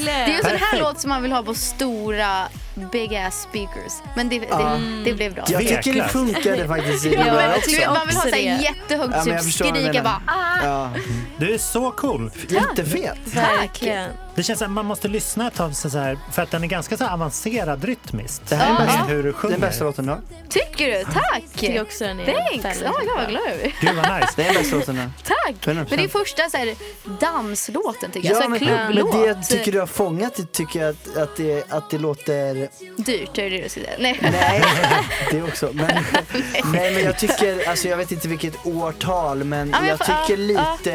verkligen.
sån här låt som man vill ha på stora big ass speakers. Men det, det,
Ah.
det blev bra.
Jag
Tveklar.
tycker det funkade faktiskt i
Ja, men
Livar
du vet,
också.
man vill ha
Också
såhär
det.
jättehögt,
Ja, men jag
typ
förstår vad du
skrika bara
menar.
ah,
Ja,
Du är så cool.
jättefet.
Verkligen.
Det känns som att man måste lyssna ett tag så här, för att den är ganska så här avancerad rytmiskt.
Det här är den
Med
bästa-
hur du
Den bästa
sjunger.
låten då?
Tycker du? Tack!
Tycker också den är
Thanks!
väldigt
Oh my god vad glad jag blir.
Gud vad nice.
Det är den bästa låten då.
Tack!
100%.
Men det är första så här, danslåten tycker jag.
Ja,
alltså
men, men
klubblåt.
det jag tycker du har fångat det tycker jag att, att, det, att det låter...
Dyrt är det det du skulle säga. Nej.
Nej, det också. Men, nej, men jag tycker, alltså jag vet inte vilket årtal, men
Ja, men
jag
jag får-
tycker
ja,
lite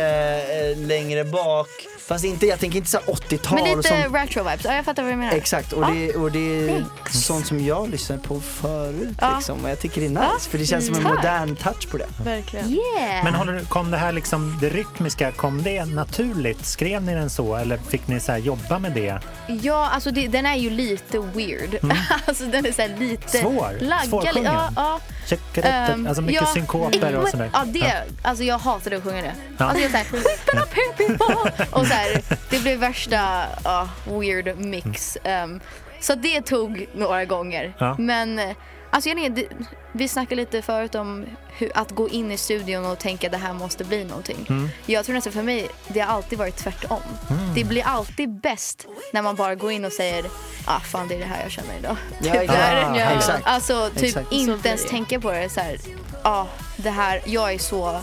eh, längre bak. Fast inte, jag tänker inte så här 80-tal
Men
och
lite
sånt.
retro-vibes. Ja, jag fattar vad du menar.
Exakt, och det, och det är
Thanks.
sånt som jag lyssnar på förut
Ja.
liksom. Och jag tycker det är nice, för det känns som en
Tack.
modern touch på det.
Verkligen.
Yeah!
Men håller, du- kom det här liksom, det rytmiska, kom det naturligt? Skrev ni den så eller fick ni så här jobba med det?
Ja, alltså det, den är ju lite weird.
Mm.
alltså den är så här lite...
Svår.
Lagga,
Svårsjungen.
Ja, ja.
Checkadetter,
Ehm,
alltså mycket
ja,
synkoper och
men-
sådär.
Ja, det, alltså jag hatade att sjunga det.
Ja.
Alltså jag såhär, "Whippin' up here people", och så här, det blev värsta ja, weird mix. Ehm, så det tog några gånger.
Mm. Ja.
Men eh, alltså jag vet, inte, det- vi snackade lite förut om hur, att gå in i studion och tänka det här måste bli någonting.
Mm.
Jag tror nästan för mig, det har alltid varit tvärtom. Det blir alltid bäst när man bara går in och säger, ah fan det är det här jag känner idag.
Ja,
Typ där.
exakt.
Ja.
exakt.
Alltså typ
Exakt.
Så blir
inte
det
ens
ju.
tänka på det så här. Ja, det här, jag är så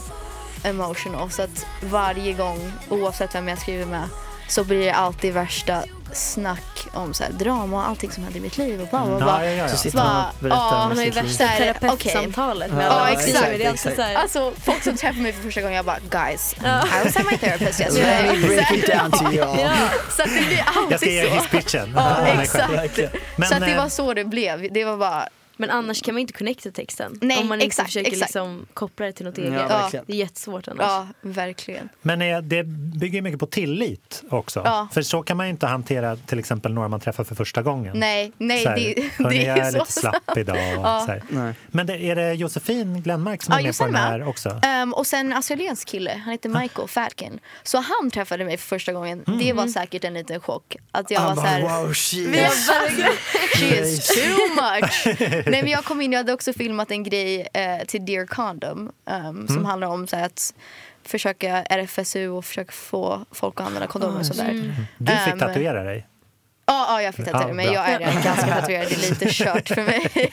emotional så att varje gång oavsett vem jag skriver med så blir det alltid värsta snack om så här, drama och allting som händer i mitt liv och bla bla bla. ah,
Ja, ja, ja.
Så
ja.
sitter man och berättar
Ja,
om
Man har ju
sitt liv.
värsta
Så här,
terapeutsamtalet med
Ja,
alla.
exakt,
Det är alltid
exakt.
så här-
Alltså folk som träffar mig för första gången jag bara guys, I was at my therapist yesterday.
Let me break it down to you all.
Ja.
Så att det blir
Jag ska
alltid
ge
så.
hisspitchen.
Ja,
Nej,
exakt.
själv.
Verkligen.
Men,
så att det
eh,
var så det blev. Det var bara,
Men annars kan man inte connecta texten.
Nej,
om man inte
exakt,
försöker
exakt.
Liksom koppla det till något
Ja,
eget.
verkligen.
Det är jättesvårt annars.
ja verkligen.
men eh, det bygger ju mycket på tillit också.
Ja.
För så kan man ju inte hantera till exempel några man träffar för första gången.
Nej, nej
Så här,
det,
"Hörni,
det
jag
är
är
så.
lite slapp idag. Och så här.
Nej.
Men det, är det Josefin Glenmark som
Ja,
är med på den
Jossan med.
här också?
Ehm, och sen australiensk kille, han
Ah.
heter Michael Falken. Så han träffade mig för första gången.
Mm.
Det var säkert en liten chock. Att jag
Ah,
Han
var så
bara
här,
wow, shit.
jag bara, she is too much. Nej men jag kom in, jag hade också filmat en grej eh, till Dear Condom. ehm,
Mm.
Som handlar om så här, att försöka RFSU och försöka få folk att använda
Ah,
kondomer och sådär.
Du fick
Ehm,
tatuera dig.
Ja, ja, jag fick tatuera
Ja,
mig.
Ah, bra.
Jag är redan ganska tatuerad. Det är lite kört för mig.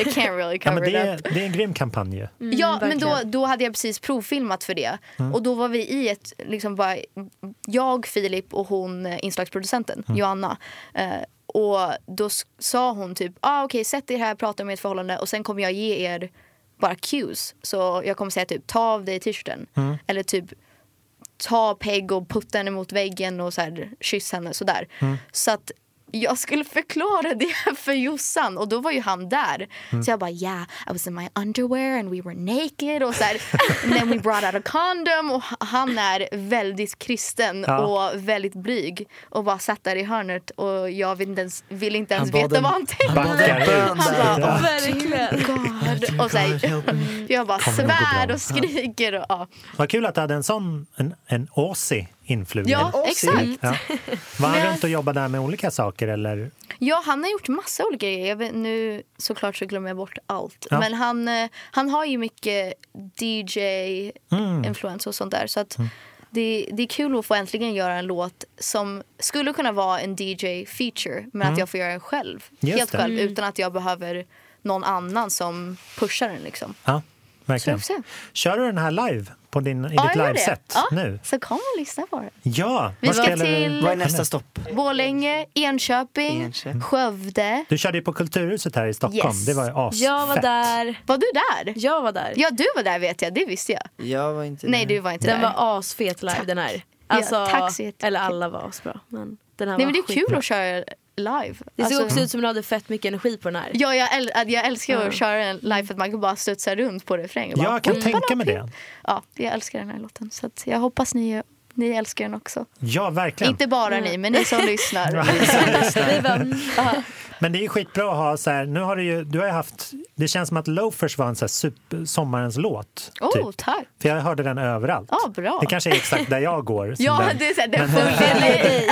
I can't really
Ja,
cover
men
it
det,
up.
är, det är en grym kampanj ju.
Ja, men
verkligen.
då, då hade jag precis provfilmat för det. Och då var vi i ett, liksom bara, jag, Filip och hon eh, inslagsproducenten, Joanna. Eh, och då s- sa hon typ, ah, okej sätt er här, prata om ert förhållande och sen kommer jag ge er bara cues. Så jag kommer säga typ, ta av dig t-shirten. Eller typ, ta Peg och putta henne mot väggen och så här, kyss henne sådär.
Mm.
Så att jag skulle förklara det för Jossan och då var ju han där.
Mm.
Så jag bara yeah, I was in my underwear and we were naked och så här, and then we brought out a condom och han är väldigt kristen
Ja.
och väldigt blyg och bara satt där i hörnet och jag vill inte ens, vill inte ens
bad
veta
en-
vad han tänkte.
Han bad en
Backar
bön
ut.
Han
där.
bara, oh,
Verkligen.
God. Och så här, jag bara
Kommer nog gå bra.
svär och skriker. Och, ja.
Vad kul att du hade en sån, en, en Aussie influgen.
ja, exakt.
Ja. Var han runt och jobbade där med olika saker eller?
Ja, han har gjort massa olika grejer. Jag vet, nu såklart så glömmer jag bort allt.
Ja.
Men han, eh, han har ju mycket
Mm.
DJ-influens och sånt där. Så att det, det är kul att få äntligen göra en låt som skulle kunna vara en DJ-feature men att jag får göra den själv.
Mm. Just
helt
det.
själv utan att jag behöver någon annan som pushar den liksom.
Ja,
Så
verkligen.
vi får se.
Kör du den här live på din, i
Ja,
ditt
jag gör
liveset
det. Ja,
nu?
Så kom och lyssna på det.
Ja,
Vi
vad
ska
spelar du?
till
Vad är nästa stopp?
Borlänge, Enköping,
Enköping.
Skövde.
Du körde ju på Kulturhuset här i Stockholm.
Yes.
Det var ju asfett.
Jag var där.
Var du där?
Jag var där.
Ja, du var där vet jag. Det visste jag.
Jag var inte
Nej,
där.
du var inte
Den
där.
var asfet live den här. Alltså,
tack så jättemycket.
eller alla var asbra. Men den här
Nej
var
men det är kul
skitbra.
att köra live.
Det såg
Alltså,
också ut som att du hade fett mycket energi på den här.
ja, jag, äl- att jag älskar att
Ja.
köra en live för att man kan bara studsa runt på refrängen.
Jag kan tänka mig det.
Ja, jag älskar den här låten. Så att jag hoppas ni Ni älskar den också.
Ja, verkligen.
Inte bara ni, men ni som lyssnar.
Vi bara, mm, aha.
Men det är skitbra att ha så här, nu har du ju, du har ju haft, det känns som att Loafers var en så här super, sommarens låt. typ.
Oh, tack!
För jag hörde den överallt.
Ja, bra.
Det kanske är exakt där jag går. som
Ja,
den.
det är så här, den följer dig.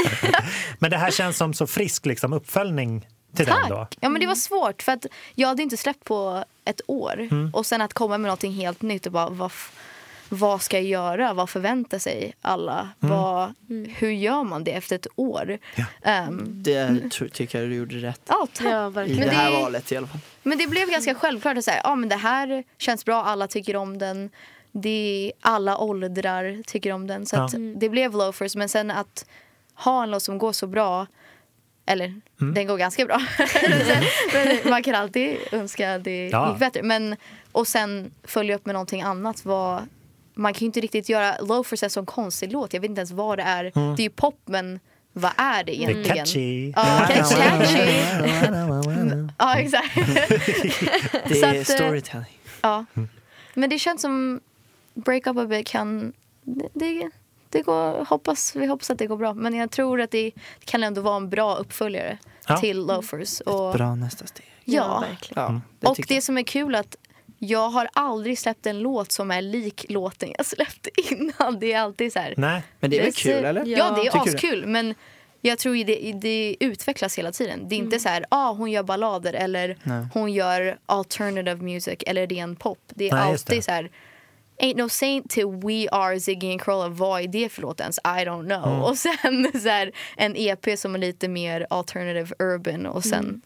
Men det här känns som så frisk liksom, uppföljning till den då. Mm.
Tack! Ja, men det var svårt, för att jag hade inte släppt på ett år.
Mm.
Och sen att komma med någonting helt nytt och bara, vad, f- vad ska jag göra? Vad förväntar sig alla? Vad, hur gör man det efter ett år?
Mm. Ja.
Ehm,
Det tror, tycker jag du gjorde rätt
ja, tack.
Ja,
i
verkligen.
det
Men
här
det är-
valet i alla fall.
Men det blev ganska självklart att säga, ja men det här känns bra, alla tycker om den. Det är alla åldrar tycker om den. Så att det blev loafers. Men sen att ha en låt som går så bra, eller
Mm.
den går ganska bra. men man kan alltid önska att det
Ja.
gick bättre. Men, och sen följa upp med någonting annat. Vad, man kan ju inte riktigt göra loafers är en sån konstig låt. Jag vet inte ens vad det är. Det är ju pop men vad är det
Mm. Det är
egentligen?
catchy.
Ja, det är catchy. Ja exakt.
Det
Så
är
att, eh,
storytelling.
Ja. Men det känns som Break Up A Bit kan... det- Det, det går, hoppas, vi hoppas att det går bra. Men jag tror att det kan ändå vara en bra uppföljare
Ja.
till Loafers. Och,
Bra nästa steg.
ja.
verkligen.
Ja, det
och
tycker
det
jag.
som är kul är att jag har aldrig släppt en låt som är lik låten jag släppte innan. Det är alltid så här...
Nej.
Men det är väl
Det ser-
kul eller?
Ja, det är
Tycker du?
askul. Men jag tror ju det, det utvecklas hela tiden. Det är inte så här, ah, hon gör ballader eller
Nej.
hon gör alternative music eller ren pop. Det är
Nej, just
alltid
det.
så här, Ain't no saint till We Are Ziggy and Crolla. Vad är det för låt ens? I don't know.
Mm.
Och sen så här, en EP som är lite mer alternative urban och sen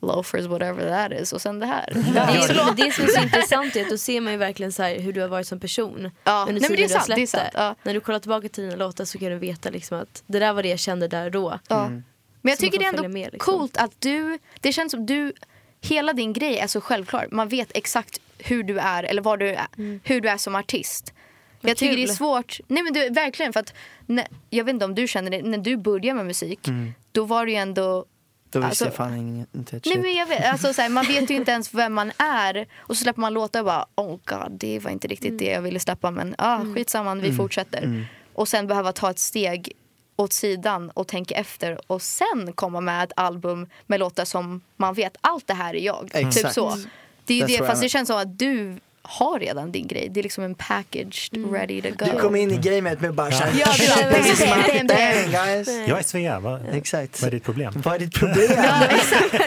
loafers whatever that is och sen det här.
Det, är, men det som är så intressant är att då ser man ju verkligen så här hur du har varit som person.
Ja,
Under
nej, men
tiden
det är
du har
sant, det är
släppt
sant, ja.
När du kollar tillbaka till dina låtar så kan du veta liksom att det där var det jag kände där och då.
Ja. Men jag
Så man
tycker det är
får
ändå
följa med, liksom.
coolt att du, det känns som du, hela din grej är så självklar. Man vet exakt hur du är eller vad du är, hur du är som artist. jag tycker det är
Mm. kul.
svårt, nej men du, verkligen för att, när, jag vet inte om du känner det, när du började med musik
Mm.
då var det ju ändå
Då visste
Alltså-
jag fan ingen- inte ett
Nej,
shit.
men jag vet, alltså, såhär, man vet ju inte ens vem man är och så släpper man låtar och bara oh god det var inte
Mm.
riktigt det jag ville släppa men ah, skitsamma vi fortsätter. Och sen behöva ta ett steg åt sidan och tänka efter och sen komma med ett album med låtar som man vet allt det här är jag. Typ
Exakt.
så. Det är ju
That's
det,
what I
fast det
meant.
känns som att du har redan din grej. Det är liksom en packaged ready to go.
Mm. Du kom in i gamet med bara såhär...
Ja, du bara,
This is my
bam, bam, bam.
thing, guys.
Jag är Svea, vad,
Exakt.
vad är ditt problem?
Vad är ditt problem?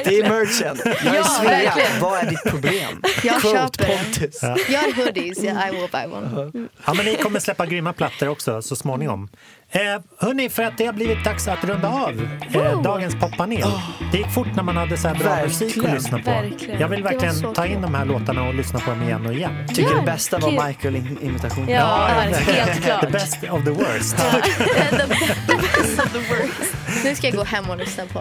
det är merchen. Jag är
Ja,
Svea.
verkligen.
Vad är ditt problem?
Jag
Quote
köper den.
Pontus.
Jag har hoodies, yeah, I will buy
Uh-huh.
one.
Ja, men ni kommer släppa grymma plattor också så småningom. Eh, hörni, för att det har blivit dags att runda av eh, dagens poppanel.
Oh.
Det gick fort när man hade så här bra
Verkligen.
musik att lyssna på.
Verkligen.
Jag vill
var
verkligen
så
ta in
kul.
de här låtarna och lyssna på dem igen och igen.
Tycker
Ja,
det bästa var
kul.
Michael-imitationen.
Ja,
ja,
verkligen. helt
The
klart.
best of the worst.
Nu ska jag gå hem och lyssna på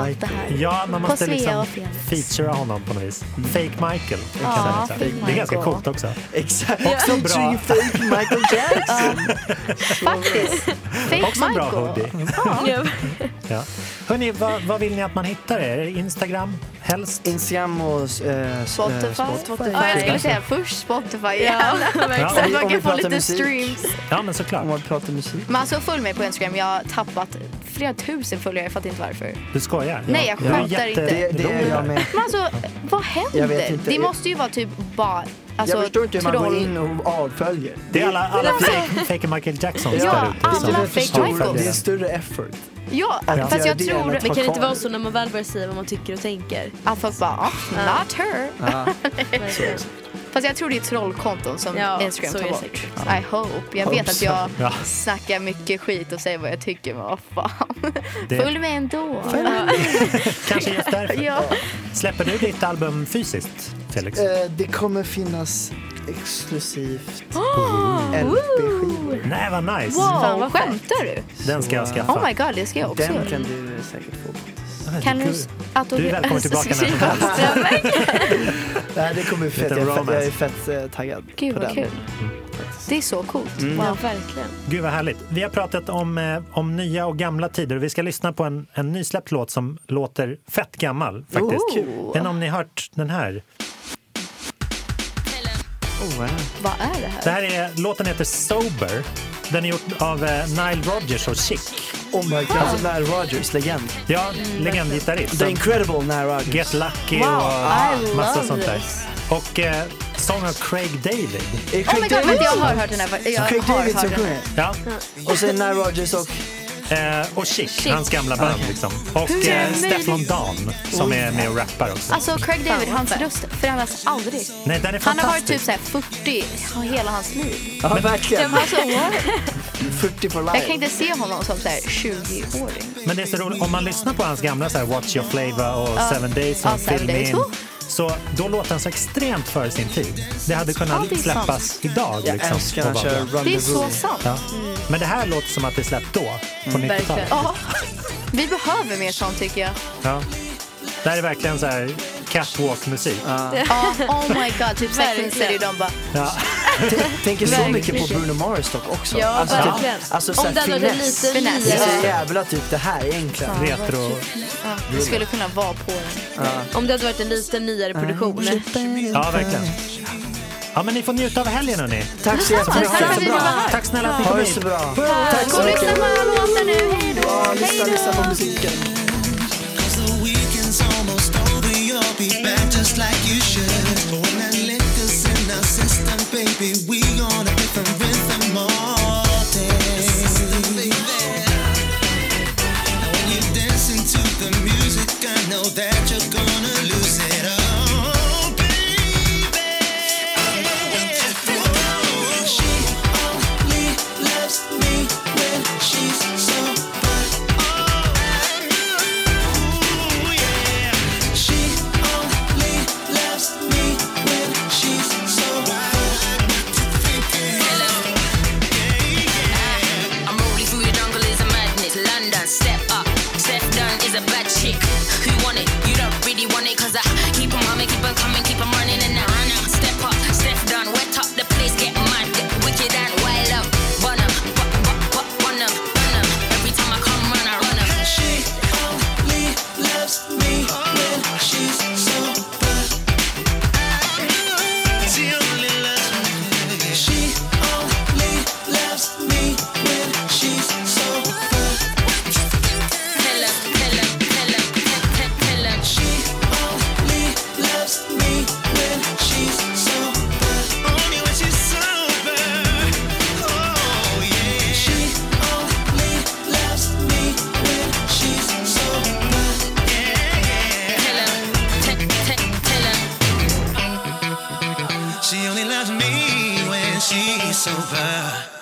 allt det här.
Ja, man måste
Svea
liksom
och Felix. Mm.
featura honom på något vis. Fake Michael. kan
Ja,
man säga.
fake
det är
Michael.
ganska coolt också.
Exakt.
Också bra.
Featuring fake Michael Jackson.
Faktiskt. Fake
Också en bra hoodie.
Ja.
Ja. Hörni, vad, vad vill ni att man hittar er? Instagram helst?
Instagram och eh, s- eh,
Spotify. Ja, jag skulle säga först Spotify.
Ja,
Ja.
verkligen.
Så att
Om vi- om
man
vi
kan få
pratar
lite
musik.
streams.
Ja, men såklart.
Om man pratar musik.
Men alltså följ mig på Instagram. Jag har tappat flera tusen följare. Jag fattar inte varför.
Du skojar?
Nej, jag
Du är
skämtar inte.
Det, det gör jag med.
Men alltså, vad händer?
Jag vet inte.
Det måste ju vara typ bara... Alltså,
jag förstår inte hur man
troll.
går in och avföljer.
Det är alla, alla fake, fake Michael Jackson
Ja,
där ute.
alla
som-
fake
som
Michael.
följer
Det är
den.
en större effort.
Ja,
Att
fast
göra
jag
det
tror
än att
Det
vara
kan inte
kvar.
vara så när man väl börjar säga vad man tycker och tänker.
att folk bara ah, not her.
Verkligen.
Fast jag tror det är trollkonton som
Ja,
Instagram
så är
tar
det
bort. I hope. Jag vet
Hopes.
att jag
Ja.
snackar mycket skit och säger vad jag tycker men vad fan.
Det-
Följ mig ändå.
Kanske just därför.
Ja.
Släpper du ditt album fysiskt, Felix?
Eh, det kommer finnas exklusivt LP-skivor.
Nej, vad nice!
Wow, skämtar du?
Den ska jag
Så,
skaffa.
Oh my god, det ska jag också
Den
göra.
kan du säkert få. Pontus.
Kan du
Du är välkommen tillbaka när som helst.
Nej, det kommer bli fett.
Lite
Jag är fett, jag är
romance.
fett eh, taggad
Gud
på
vad
den.
kul. Det är så coolt.
Ja,
Wow.
verkligen.
Gud vad härligt. Vi har pratat om, eh, om nya och gamla tider och vi ska lyssna på en, en nysläppt låt som låter fett gammal faktiskt.
Oh, kul.
Men om ni hört den här.
Oh, wow.
Vad är det här?
Oh,
Det här är, låten heter Sober Den är gjord av eh, Nile Rodgers och Chic.
Oh my god, alltså Nile Rodgers, legend.
Ja, mm, legendgitarrist.
The incredible Nile Rodgers.
Get Lucky
Mm, Wow, I
och massa
love
sånt där.
this.
Och eh, sång av Craig David.
Är
Oh
Craig
my god, vänta, jag har
David-
hört den här. Jag
Craig
har
David
hört
som
den.
sjunger.
Ja.
Och sen Nile Rodgers och...
Eh, och Chic, hans gamla band. Liksom. Och eh, Stefan Dan som är med och rappar också.
Alltså Craig David, hans röst förändras aldrig.
Nej, den är
Han har varit
fantastisk.
typ såhär 40 hela hans liv.
Ja, verkligen.
Alltså, what?
40 for
jag kan
life.
inte se honom som såhär 20-åring.
Men det är så roligt, om man lyssnar på hans gamla så här, Watch Your Flavor och Seven Days
Ja,
som
Seven
Fill Me
Days.
In.
Oh.
Så då låter han så extremt före sin tid. Det hade kunnat
Ja, det är
släppas idag.
Jag
liksom,
älskar
och
när han
vara
kör
bra.
Run
Det
the
är så
Rule.
sant.
Ja. Men det här låter som att det släppt då, på
Mm,
90-talet.
Verkligen.
Ja. Vi behöver mer sånt tycker jag.
Ja. Det här är verkligen så här catwalk-musik.
Ja, oh my god, typ såhär
Verkligen.
Queen City de bara
Ja.
Tänker så
Verkligen.
mycket på Bruno Mars dock också.
Ja,
alltså, typ-
verkligen.
Alltså
Om det
såhär
hade varit
finess.
lite
Finess.
Det är
nyare.
så jävla typ det här egentligen.
Retro.
ja, skulle kunna vara på den.
Om det hade varit en lite nyare produktion.
Mm.
Ja, verkligen. Ja, men ni får njuta av helgen, hörni.
Tack så jättemycket.
Tack,
Ha det
så bra. Tack snälla att ni
Ha
kom
det så
hit.
bra. Tack
Gå
så
och lyssna
mycket.
på alla låtar nu, hejdå!
Ja, lyssna, lyssna på musiken.
weekend's almost over, you'll be back just like you should. But when that liquor's in the system, baby, we on a different rhythm all day. And when you're dancing to the music, I know that you're gonna lose it all, baby. Oh, she only loves me when she's sober. Ooh, yeah. She only loves me when she's sober.
I'm rolling through the jungle is a madness. London, step up. Step down is a bad chick. Who want it? You don't really want it. Cause I keep on humming, keep on coming, keep on running. And I run up. Step up, step down. Wet up the place, get mad. Get wicked and wild up. Bun up, bu- bu- bu- bun up, bun up. Every time I come run, I run up.
She only loves me when she's sober. She only loves me. She only loves me when she's sober.
Tell her, tell her, tell her, te- te- tell her.
She only loves me when she's sober. Only when she's sober. Oh yeah. She only loves me when she's sober.
Tell her, te- te- tell her.
She only loves me when she's sober.